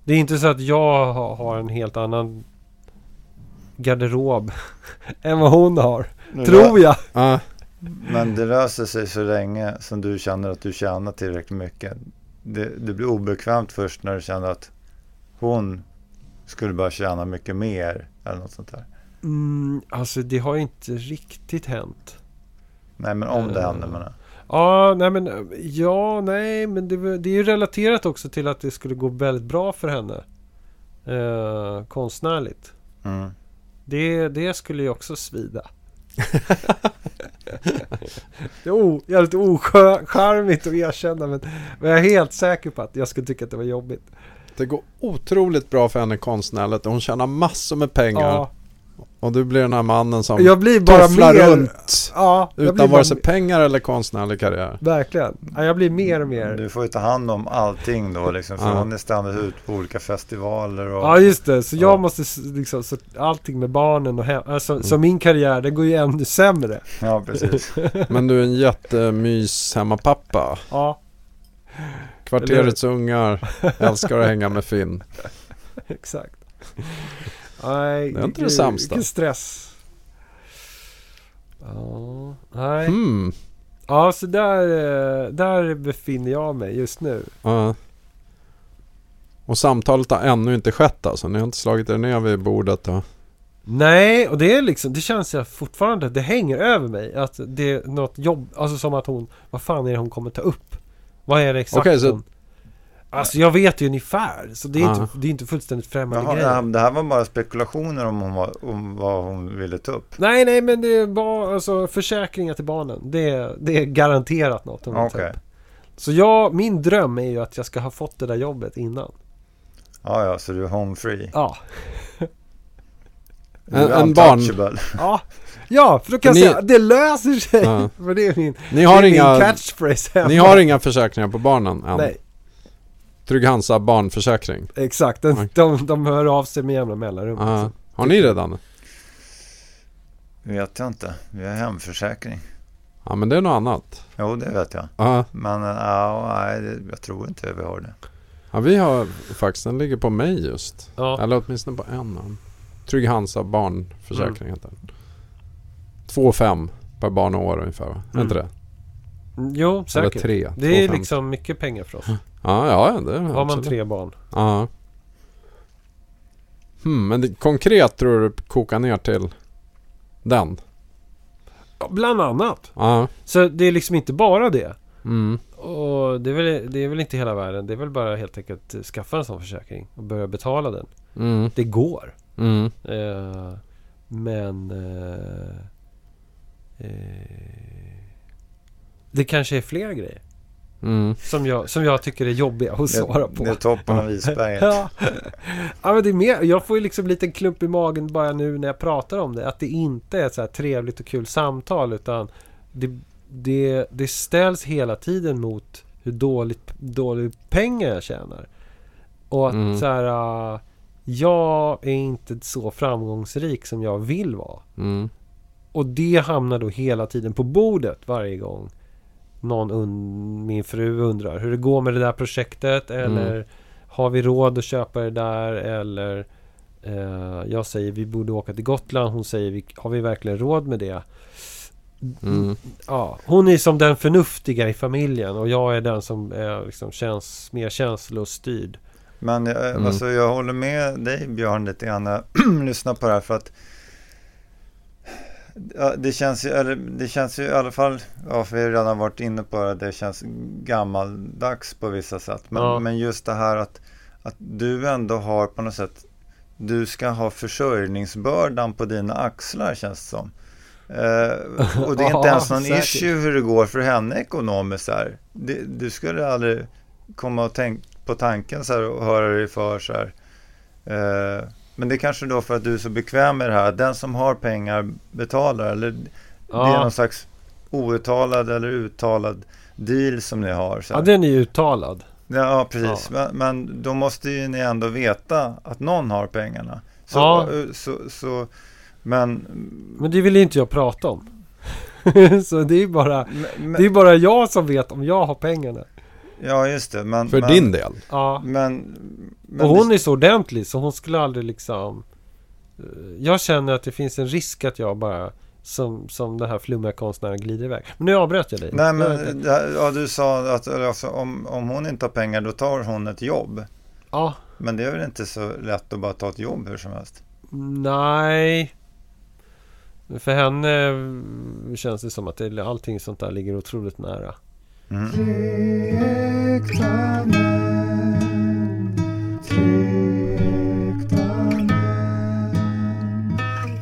S4: Det är inte så att jag ha- har en helt annan garderob än vad hon har. Tror jag.
S2: ja,
S3: Men det löser sig så länge som du känner att du tjänar tillräckligt mycket. Det, det blir obekvämt först när du känner att hon skulle börja tjäna mycket mer eller något sånt där.
S4: Mm, alltså det har ju inte riktigt hänt.
S3: Nej men om det
S4: Eh.
S3: händer menar jag.
S4: Ja, nej men eh, ja, nej, men det, var- det är ju relaterat också till att det skulle gå väldigt bra för henne. Eh, konstnärligt.
S3: Mm.
S4: Det, det skulle ju också svida. det är o, jävligt ocharmigt att erkänna men, men jag är helt säker på att jag skulle tycka att det var jobbigt.
S2: det går otroligt bra för henne konstnärligt och hon tjänar massor med pengar.
S4: Ja,
S2: Och du blir den här mannen som
S4: jag blir bara
S2: tofflar
S4: mer...
S2: runt.
S4: Ja, jag blir
S2: Utan
S4: bara,
S2: vare sig pengar eller konstnärlig karriär.
S4: Verkligen. Ja, jag blir mer
S2: Mm,
S4: och mer...
S3: Du får ju ta hand om allting då liksom. För
S2: Ja.
S3: hon är ständigt ute på olika festivaler och...
S4: Ja just det, så
S3: Ja.
S4: jag måste s- liksom, så allting med barnen och hem, alltså,
S2: Mm.
S4: så min karriär den går ju ännu sämre.
S3: ja precis.
S2: Men du är en jättemys hemmapappa.
S4: Ja,
S2: Kvarterets ungar älskar att hänga med Finn.
S4: exakt. Nej,
S2: Det är inte
S4: vilken-
S2: det sämsta.
S4: Vilken stress. Ja, nej.
S2: Hmm.
S4: Ja, så där, eh, där befinner jag mig just nu.
S2: ja. Och samtalet har ännu inte skett alltså. Ni har inte slagit er ner vid bordet och...
S4: Nej, och det är liksom, det känns jag fortfarande, det hänger över mig att det är något jobb, alltså som att hon, vad fan är det hon kommer ta upp? Vad är det exakt
S2: Okej, så- Ah.
S4: hon... Alltså jag vet ju ungefär, så det är,
S2: Ja.
S4: inte, det är inte fullständigt
S3: Men
S4: främmande
S3: har-
S4: grejer.
S3: det här var bara spekulationer om, hon var, om vad hon ville ta upp.
S4: Nej, nej, men det var alltså försäkringar till barnen. Det, är- det är garanterat något hon vill ta
S3: Okej.
S4: upp. Så jag, min dröm är ju att jag ska ha fått det där jobbet innan.
S3: Ja ja, så du är home free.
S4: Ja,
S3: Du är
S2: En- en barn.
S3: untouchable.
S4: ja, ja för då kan jag
S2: Ni-
S4: säga, det löser sig.
S2: Ja.
S4: För det är min,
S2: Ni
S4: det är
S2: har,
S4: min
S2: inga,
S4: catchphrase hemma.
S2: ni har inga försäkringar på barnen än?
S4: Nej.
S2: Trygg-Hansa barnförsäkring?
S4: Exakt, den,
S2: Oj.
S4: de, de hör av sig med jämna mellanrum. alltså.
S2: Ja. Har ni redan?
S3: Vet jag inte. Vi har hemförsäkring.
S2: Ja men det är något annat.
S3: Jo, det vet jag.
S2: Ja.
S3: Men eh, ja, nej, det, jag tror inte vi har det.
S2: Ja, vi har faktiskt, den ligger på mig just.
S4: Ja.
S2: Eller åtminstone på en av dem. Trygg-Hansa
S4: Mm.
S2: barnförsäkring heter den. 2,5 per barn och år ungefär va? Är
S4: Mm.
S2: inte det?
S4: Jo,
S2: Eller
S4: säkert.
S2: 3.
S4: Det är liksom mycket pengar för oss.
S2: Ja, ja det är
S4: Har man tre barn.
S2: Ja. Hmm, men det, konkret tror du kokar ner till den?
S4: Ja, Bland annat.
S2: Ja.
S4: Så det är liksom inte bara det.
S2: Mm.
S4: Och det är, väl, det är väl inte hela världen. Det är väl bara helt enkelt eh, skaffa en sån försäkring och börja betala den.
S2: Mm.
S4: Det går.
S2: Mm.
S4: Eh, men... Eh, eh, det kanske är fler grejer
S2: Mm.
S4: som jag, som jag tycker är jobbiga att svara på.
S3: Det är toppen av isberget.
S4: Ja. ja, men det är mer, jag får ju liksom en liten klump i magen bara nu när jag pratar om det. Att det inte är ett så här trevligt och kul samtal utan det, det, det ställs hela tiden mot hur dåligt, dåligt pengar jag tjänar. Och att
S2: Mm.
S4: så här, äh, jag är inte så framgångsrik som jag vill vara.
S2: Mm.
S4: Och det hamnar då hela tiden på bordet varje gång. någon un, min fru undrar hur det går med det där projektet eller har vi råd att köpa det där eller eh, jag säger vi borde åka till Gotland. Hon säger vi, har vi verkligen råd med det?
S2: Mm.
S4: Ja, hon är som den förnuftiga i familjen och jag är den som är liksom känns, mer känslostyrd.
S3: Men jag,
S2: Mm.
S3: alltså, jag håller med dig Björn lite grann när jag lyssnar på det här för att ja, det, känns ju, eller, det känns ju i alla fall, ja, för vi har redan varit inne på det, det känns gammaldags på vissa sätt. Men,
S4: Ja.
S3: men just det här att, att du ändå har på något sätt, du ska ha försörjningsbördan på dina axlar känns det som. Eh, och det är inte
S4: Ja,
S3: ens någon
S4: säkert.
S3: issue hur det går för henne ekonomiskt. så här. Det, du skulle aldrig komma och tänk på tanken så här och höra dig för så här. Eh, men det är kanske då för att du är så bekväm med det här. Den som har pengar betalar. Eller det är
S4: Ja,
S3: någon slags outtalad eller uttalad deal som ni har. Så
S4: ja
S3: här.
S4: den är ju uttalad.
S3: Ja, precis. Men, men då måste ju ni ändå veta att någon har pengarna. Så, eh,
S4: Ja.
S3: så, så, men,
S4: Men det vill ju inte jag prata om. Så det är bara,
S3: men,
S4: det är bara jag som vet om jag har pengarna.
S3: Ja, just det. Men,
S2: För
S3: men,
S2: din del.
S4: Ja.
S3: Men, men
S4: Och hon är så ordentlig så hon skulle aldrig liksom... eh, Jag känner att det finns en risk att jag bara som, som den här flummiga konstnären glider iväg. Men nu avbröt jag dig.
S3: Nej,
S4: Jag vet inte.
S3: men det här- ja, du sa att eller, alltså, om, om hon inte har pengar då tar hon ett jobb.
S4: Ja,
S3: Men det är väl inte så lätt att bara ta ett jobb hur som helst?
S4: nej. För henne eh, känns det som att det, allting sånt där ligger otroligt nära.
S3: Mhm.
S1: Äkta män, tre äkta män,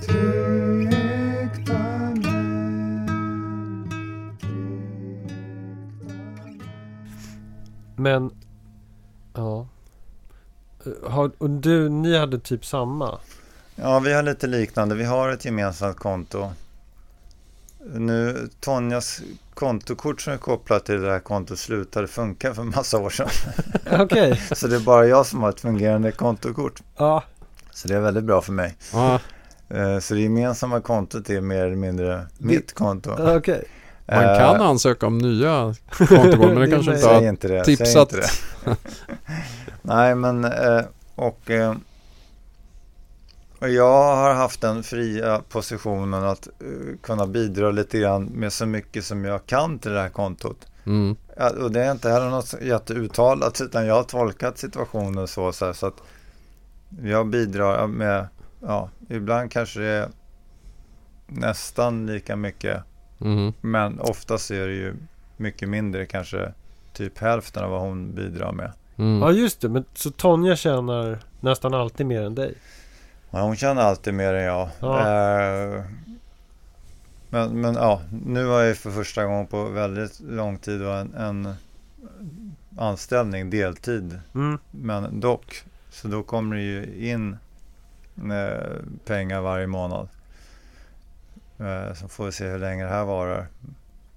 S1: tre äkta män, tre äkta män.
S4: Men... Ja. Eh, Har, och du, ni hade typ samma?
S3: Ja, vi har lite liknande. Vi har ett gemensamt konto. Nu, Tonjas kontokort som är kopplat till det här kontot slutade funka för en massa år sedan.
S4: Okej.
S3: Så det är bara jag som har ett fungerande kontokort.
S4: Ja.
S3: Så det är väldigt bra för mig.
S2: Ja.
S3: Eh, Så det gemensamma kontot är mer eller mindre mitt konto.
S4: Okej.
S2: Man
S3: Eh,
S2: kan ansöka om nya kontokort men det
S4: Det
S2: kanske inte
S4: är
S3: Säg
S2: har
S3: inte det. säg
S2: tipsat.
S3: Inte det. Nej, men eh, och, eh, och jag har haft den fria positionen att eh, kunna bidra lite grann med så mycket som jag kan till det här kontot.
S2: Mm.
S3: Ja, Och det är inte heller något så jätteuttalat utan jag har tolkat situationen så, så, här, så att jag bidrar med, ja, ibland kanske det är nästan lika mycket
S2: Mm.
S3: men oftast är det ju mycket mindre, kanske typ hälften av vad hon bidrar med.
S4: Ja
S2: Mm.
S4: just det, men så Tonja tjänar nästan alltid mer än dig?
S3: Ja, hon känner alltid mer än jag.
S4: Ja.
S3: Eh, men, men ja, nu har jag ju för första gången på väldigt lång tid då en, en anställning, deltid.
S4: Mm.
S3: Men dock, så då kommer det ju in eh, pengar varje månad. Eh, så får vi se hur länge det här varar.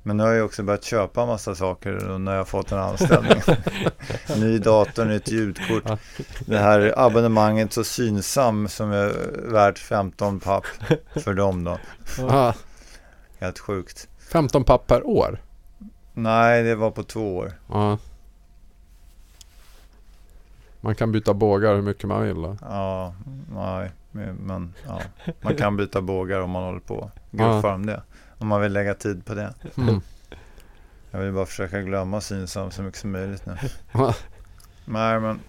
S3: Men nu har jag ju också börjat köpa massa saker och när jag har fått en anställning. Ny dator, nytt ljudkort. Det här abonnemanget så Synsam som är värt 15 papp för dem då.
S2: Ja.
S3: Helt sjukt.
S2: 15 papp per år.
S3: Nej, det var på två år.
S2: Ja. Man kan byta bågar hur mycket man vill. då.
S3: Ja, nej, men ja. man kan byta bågar om man håller på och guffar om det. Om man vill lägga tid på det.
S2: Mm.
S3: Jag vill bara försöka glömma Synsam så mycket som möjligt nu.
S2: Ja.
S3: Nej, men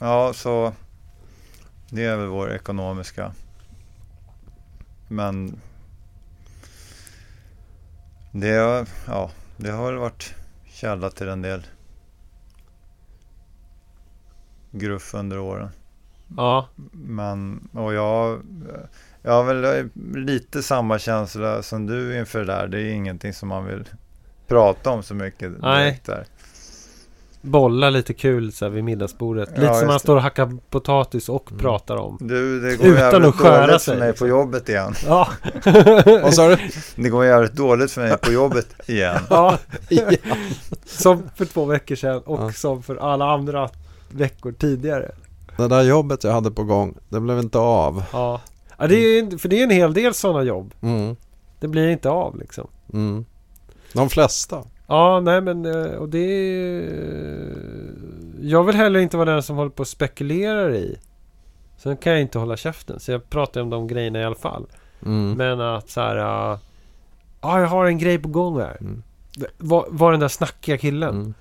S3: ja, så det är väl vår ekonomiska. Men det, har- ja, det har väl varit källa till en del gruff under åren.
S4: Ja,
S3: Men, och jag, jag har väl eh, lite samma känsla som du inför det där. Det är ingenting som man vill prata om så mycket direkt
S4: Nej.
S3: där.
S4: bolla lite kul så här vid middagsbordet.
S3: Ja,
S4: lite
S3: just
S4: som man
S3: det.
S4: står och hackar potatis och
S2: Mm.
S4: pratar om.
S3: Du, det går
S4: Utan
S3: jävligt
S4: att skära
S3: dåligt
S4: sig,
S3: för mig på
S4: liksom.
S3: jobbet igen.
S4: Ja,
S2: Vad sa du?
S3: Det går jävligt dåligt för mig på jobbet igen.
S4: ja. Som för två veckor sedan och
S2: Ja.
S4: som för alla andra veckor tidigare.
S2: Det där jobbet jag hade på gång, det blev inte av.
S4: Ja, ja det är, ju- för det är en hel del sådana jobb.
S2: Mm.
S4: Det blir inte av liksom.
S2: Mm. De flesta.
S4: Ja, nej men eh, och det... eh, Jag vill heller inte vara den som håller på och spekulerar i. Sen kan jag inte hålla käften. Så jag pratar ju om de grejerna i alla fall.
S2: Mm.
S4: Men att så här... Ja, ah, jag har en grej på gång här.
S2: Mm.
S4: Var, var den där snackiga killen.
S2: Mm.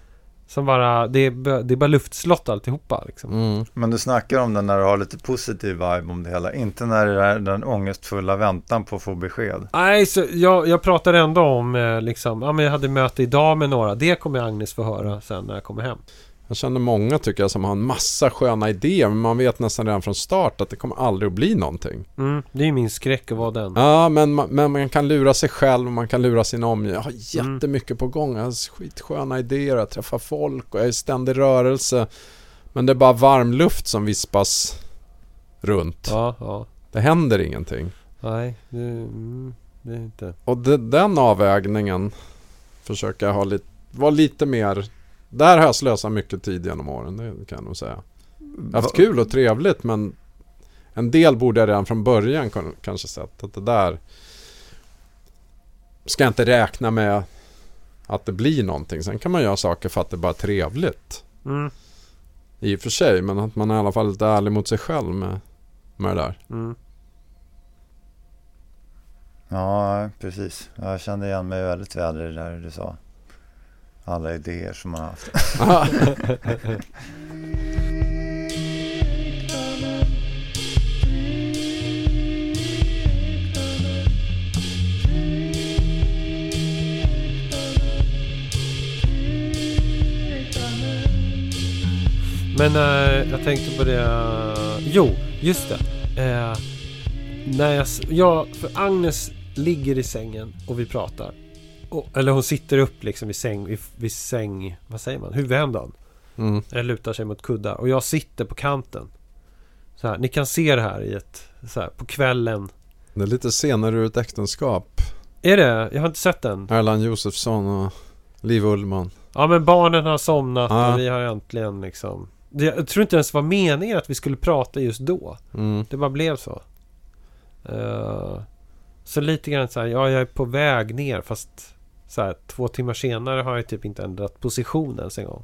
S4: Som bara... Det är, bö- det är bara luftslott alltihopa liksom.
S2: Mm.
S3: Men du snackar om den när du har lite positiv vibe om det hela. Inte när det är den ångestfulla väntan på att få besked.
S4: Nej, så jag, jag pratar ändå om eh, liksom... Ja, men jag hade möte idag med några. Det kommer Agnes få höra sen när jag kommer hem.
S2: Jag känner många tycker jag som har en massa sköna idéer men man vet nästan redan från start att det kommer aldrig att bli någonting.
S4: Mm, det är ju min skräck att vara den.
S2: Ja, men, ma- men man kan lura sig själv och man kan lura sin omgivning. Jag har jättemycket på gång. Jag har skitsköna idéer. Jag träffar folk och jag är i ständig rörelse. Men det är bara varmluft som vispas runt.
S4: Ja, ja.
S2: Det händer ingenting.
S4: Nej, det, mm, det är inte...
S2: Och de, den avvägningen försöker jag ha lite, vara lite mer... Där har jag slösat mycket tid genom åren, det kan jag nog säga. Jag har haft kul och trevligt men en del borde jag redan från början kun- kanske sett att det där ska jag inte räkna med att det blir någonting. Sen kan man göra saker för att det bara är trevligt
S4: Mm,
S2: i och för sig men att man är i alla fall lite ärlig mot sig själv med, med det där.
S4: mm.
S3: Ja, precis. Jag kände igen mig väldigt väl i det där du sa. Alla idéer som man har haft.
S4: Men eh, jag tänkte på det... eh, Jo, just det. Eh, när jag, s- ja, för Agnes ligger i sängen och vi pratar. Och, eller hon sitter upp liksom vid säng... Vid, vid säng vad säger man? Huvudändan.
S2: Mm.
S4: Eller lutar sig mot kuddar. Och jag sitter på kanten. Så här, ni kan se det här i ett... Så här, på kvällen.
S2: Det är lite senare ur ett äktenskap.
S4: Är det? Jag har inte sett den.
S2: Erland Josefsson och Liv Ullman.
S4: Ja men barnen har somnat
S2: Ja.
S4: och vi har äntligen liksom... Det, jag tror inte ens var meningen att vi skulle prata just då.
S2: Mm.
S4: Det bara blev så. Eh, så lite grann så här, ja jag är på väg ner fast så här, två timmar senare har jag typ inte ändrat position ens en gång.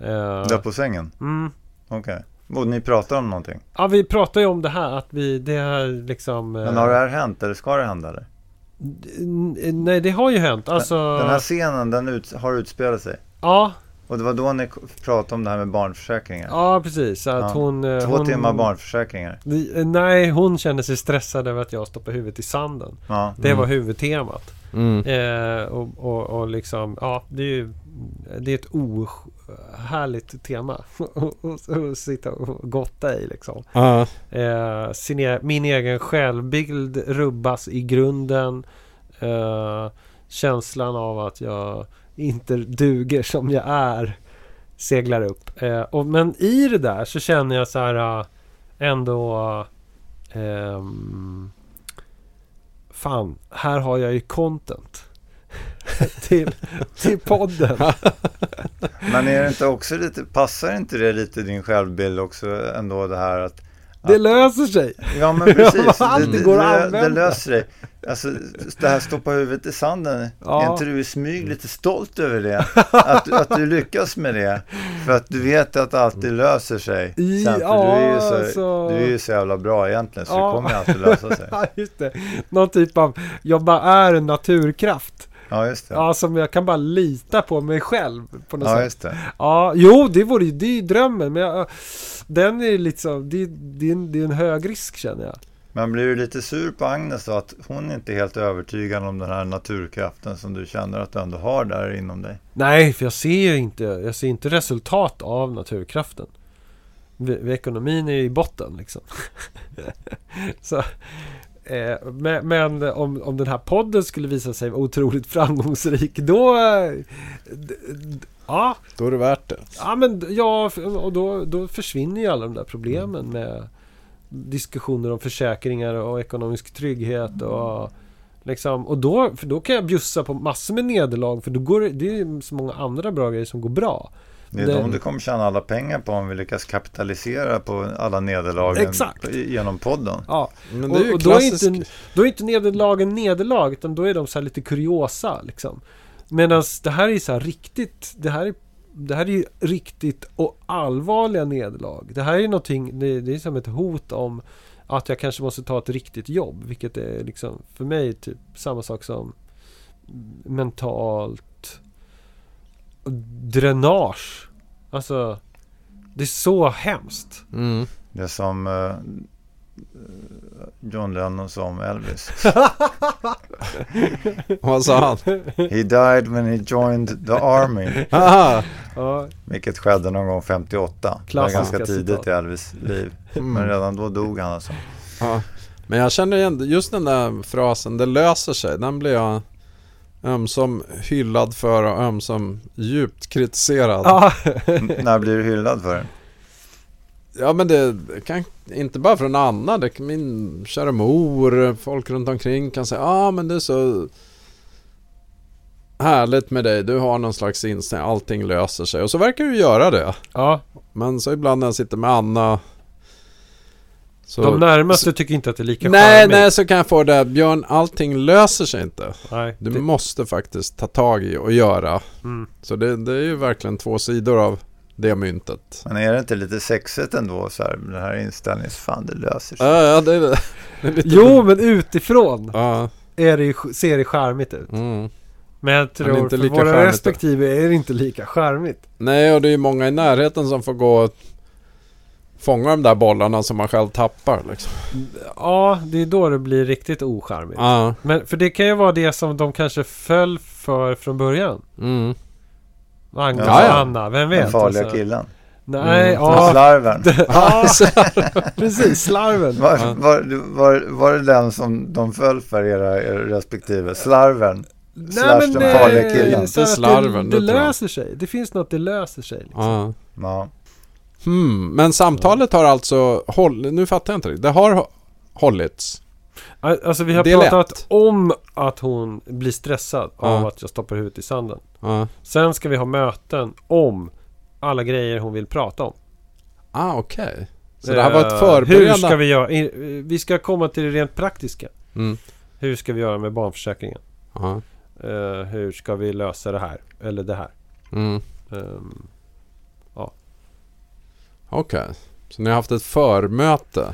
S4: Eh,
S3: Där på sängen?
S4: mm.
S3: Okej. Och ni pratar om någonting?
S4: Ja vi pratar ju om det här att vi, det här liksom... eh,
S3: Men har det här hänt eller ska det hända? Eller?
S4: n- Nej det har ju hänt alltså...
S3: Den här scenen den ut, har utspelat sig.
S4: Ja,
S3: Och det var då ni k- pratade om det här med barnförsäkringar.
S4: ja precis. Så Att
S3: Ja.
S4: hon, eh,
S3: Två
S4: hon, eh,
S3: timmar barnförsäkringar.
S4: Nej, hon känner sig stressad över att jag stoppar huvudet i sanden.
S3: Ja.
S4: Det
S2: Mm.
S4: var huvudtemat.
S2: Mm.
S4: Eh, och, och, och liksom, ja, det är ju det är ett ohärligt tema att sitta och gotta i liksom.
S2: Ja.
S4: Eh, sin e- min egen självbild rubbas i grunden. Eh, känslan av att jag inte duger som jag är seglar upp. Eh, och, men i det där så känner jag så här eh, ändå... ehm, fan, här har jag ju content. till, till podden.
S3: Men är det inte också lite, passar inte det lite din självbild också ändå det här att
S4: Det löser sig.
S3: Ja men precis, det,
S4: Allt
S3: det,
S4: går att
S3: det,
S4: använda.
S3: det löser dig. Alltså det här stoppa huvudet i sanden,
S4: Ja.
S3: är inte du i smyg lite stolt över det? Att, du- att du lyckas med det? För att du vet att allt det löser sig.
S4: I-
S3: Sen, för du, är ju så,
S4: ja, så-
S3: du är ju så jävla bra egentligen så
S4: Ja.
S3: det kommer ju alltid lösa sig.
S4: Ja, just det. Någon typ av, jag bara är en naturkraft.
S3: Ja just det.
S4: Ja, som jag kan bara lita på mig själv på något
S3: Ja
S4: sätt.
S3: just det.
S4: Ja, jo, det vore ju, det är ju drömmen, men jag, den är liksom, det, är- det, är en, det är en hög risk känner jag.
S3: Men blir du lite sur på Agnes då att hon inte är helt övertygad om den här naturkraften som du känner att du ändå har där inom dig?
S4: Nej, för jag ser ju inte, jag ser inte resultat av naturkraften. Vi, vi, ekonomin är ju i botten liksom. Så, eh, men men om, om den här podden skulle visa sig otroligt framgångsrik, då... eh, d, d, ja,
S2: Då är det värt det.
S4: Ja, men ja, f- och då, då försvinner ju alla de där problemen med diskussioner om försäkringar och ekonomisk trygghet och liksom, och då, för då kan jag bjussa på massor med nederlag för då går det, det är ju så många andra bra grejer som går bra.
S3: Det är
S4: Det-
S3: de du kommer tjäna alla pengar på om vi lyckas kapitalisera på alla nederlagen
S4: Exakt.
S3: på- genom podden.
S4: Ja,
S2: Men
S4: och,
S2: det är ju
S4: och då, är
S2: klassisk...
S4: inte, då är inte nederlagen nederlag utan då är de så här lite kuriosa liksom. Medan det här är så här riktigt, det här är det här är ju riktigt och allvarliga nederlag. Det här är ju någonting, det, det är som ett hot om att jag kanske måste ta ett riktigt jobb. Vilket är liksom för mig typ samma sak som mentalt dränage. Alltså, det är så hemskt.
S2: Mm.
S3: Det är som eh, John Lennon som Elvis.
S2: Vad sa han?
S3: He died when he joined the army.
S2: Haha.
S4: Ja,
S3: Vilket skedde någon gång 58. Det var
S4: Klassiska
S3: ganska tidigt
S4: citat.
S3: i Elvis liv. Men
S2: Mm.
S3: redan då dog han alltså.
S2: Ja. Men jag känner igen just den där frasen, det löser sig. Den blir jag ömsom hyllad för och ömsom djupt kritiserad.
S4: ja.
S3: N- När blir du hyllad för det?
S2: Ja men det kan inte bara från Anna, det kan min kära mor, folk runt omkring kan säga ja ah, men det är så härligt med dig, du har någon slags inställning, allting löser sig och så verkar du göra det.
S4: ja
S2: Men så ibland när jag sitter med Anna så...
S4: de närmaste tycker inte att det är lika
S2: nej,
S4: charmigt.
S2: nej så kan jag få det, Björn allting löser sig inte.
S4: nej.
S2: Du
S4: det,
S2: måste faktiskt ta tag i och göra.
S4: mm.
S2: Så det, det är ju verkligen två sidor av det myntet.
S3: Men är det inte lite sexigt ändå så här, den här inställningen? Fan, det löser sig.
S2: Ja, ja det, är- det är lite...
S4: Jo, men utifrån
S2: Ja,
S4: är det, ju- ser det charmigt ut.
S2: mm.
S4: Men jag
S2: Men det är
S4: tror
S2: inte
S4: för
S2: lika
S4: våra
S2: charmigt,
S4: respektive är det inte lika charmigt.
S2: Nej, och det är ju många i närheten som får gå och fånga de där bollarna som man själv tappar. Liksom.
S4: Ja, det är då det blir riktigt ocharmigt.
S2: Ja,
S4: Men för det kan ju vara det som de kanske föll för från början.
S2: mm.
S4: Agnes
S3: Ja, ja.
S4: och Anna, vem vet?
S3: Den farliga
S4: alltså.
S3: killen.
S4: Nej,
S2: Mm.
S4: ja.
S3: Slarven.
S4: ja. Precis, slarven.
S2: Ja.
S3: Var, var, var, var det den som de föll för, era, era respektive? Slarven? Slash den
S4: det-
S3: farliga killen.
S4: eh, så att det-
S2: Slarven,
S4: Det
S2: det tror jag.
S4: löser sig. Det finns något, det löser sig. Liksom.
S2: ja.
S3: Ja.
S2: Hmm. Men samtalet har alltså håll... Nu fattar jag inte riktigt. Det har hå- hållits.
S4: Al- Alltså vi har
S2: Det är
S4: pratat
S2: lätt.
S4: om att hon blir stressad av
S2: Ja.
S4: att jag stoppar huvudet i sanden.
S2: Ja.
S4: Sen ska vi ha möten om alla grejer hon vill prata om.
S2: Ah, okej. Så det här var
S4: Eh,
S2: ett
S4: Hur
S2: förberedande...
S4: ska vi göra? I- Vi ska komma till det rent praktiska.
S2: Mm.
S4: Hur ska vi göra med barnförsäkringen?
S2: Ja.
S4: Eh, hur ska vi lösa det här? Eller det här?
S2: Mm.
S4: Ehm,
S2: Okej. Så ni har haft ett förmöte?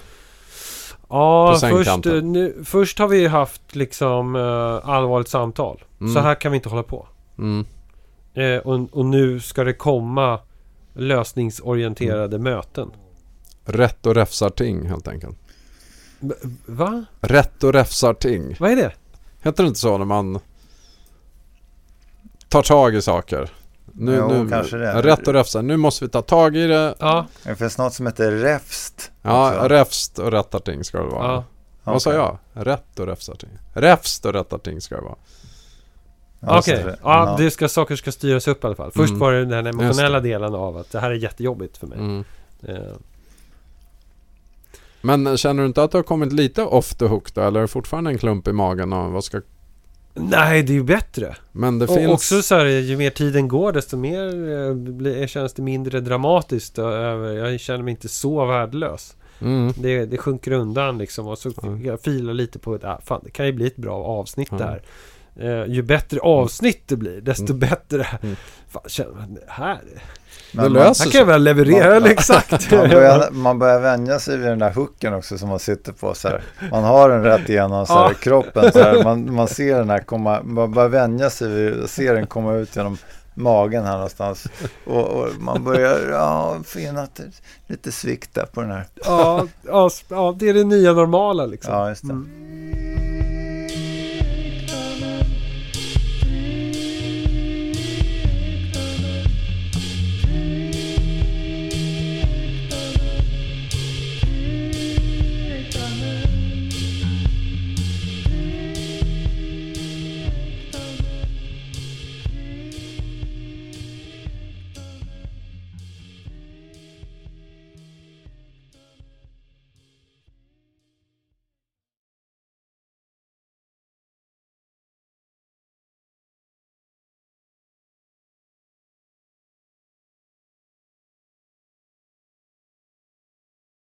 S4: Ja,
S2: På
S4: först,
S2: sängkanten.
S4: eh, nu, först har vi haft liksom eh, allvarligt samtal.
S2: Mm.
S4: Så här kan vi inte hålla på.
S2: Mm.
S4: Eh, och, och nu ska det komma lösningsorienterade
S2: Mm.
S4: möten.
S2: Rätt och räfsar ting helt enkelt.
S4: B- Va?
S2: Rätt och räfsar ting.
S4: Vad är det?
S2: Heter det inte så när man tar tag i saker? Nu,
S3: Jo,
S2: nu,
S3: kanske det.
S2: ja, Rätt och räfsa. Nu måste vi ta tag i det.
S4: Ja,
S3: Det finns något som heter räfst.
S2: Ja,
S3: också.
S2: räfst och rättarting ska det vara.
S4: ja.
S2: Vad sa
S3: Okej.
S2: jag? Rätt och räfsarting. Räfst och rättarting ska det vara.
S3: Ja,
S4: Okej,
S3: så-
S4: ja, det ska, saker ska styras upp i alla fall. Först
S2: Mm.
S4: var det den emotionella
S2: Just
S4: delen av att det här är jättejobbigt för mig.
S2: Mm.
S4: Eh,
S2: Men känner du inte att du har kommit lite off the hook då? Eller är det fortfarande en klump i magen? Och vad ska...
S4: nej, det är ju bättre.
S2: Men det
S4: och
S2: finns...
S4: också så här, ju mer tiden går desto mer eh, blir- känns det mindre dramatiskt. och över- Jag känner mig inte så värdelös.
S2: Mm.
S4: Det, det sjunker undan liksom och så
S2: Mm.
S4: jag filar lite på att ah, fan, det kan ju bli ett bra avsnitt
S2: Mm.
S4: där. Eh, ju bättre avsnitt det blir, desto bättre.
S2: Mm.
S4: Fan, känner man, det här,
S3: Men
S2: det
S3: man-
S2: löser
S4: här kan jag väl leverera, liksom. eller exakt.
S3: Man börjar, man börjar vänja sig vid den där hooken också som man sitter på. Så här. Man har den rätt igenom så här,
S4: Ja.
S3: kroppen. Så här. Man, man ser den här komma, man börjar vänja sig vid att se den komma ut genom magen här någonstans. Och, och man börjar ja, finna att det är lite svikt där på den här.
S4: ja, ja, s- ja, det är det nya normala liksom.
S3: Ja, just det.
S4: Mm.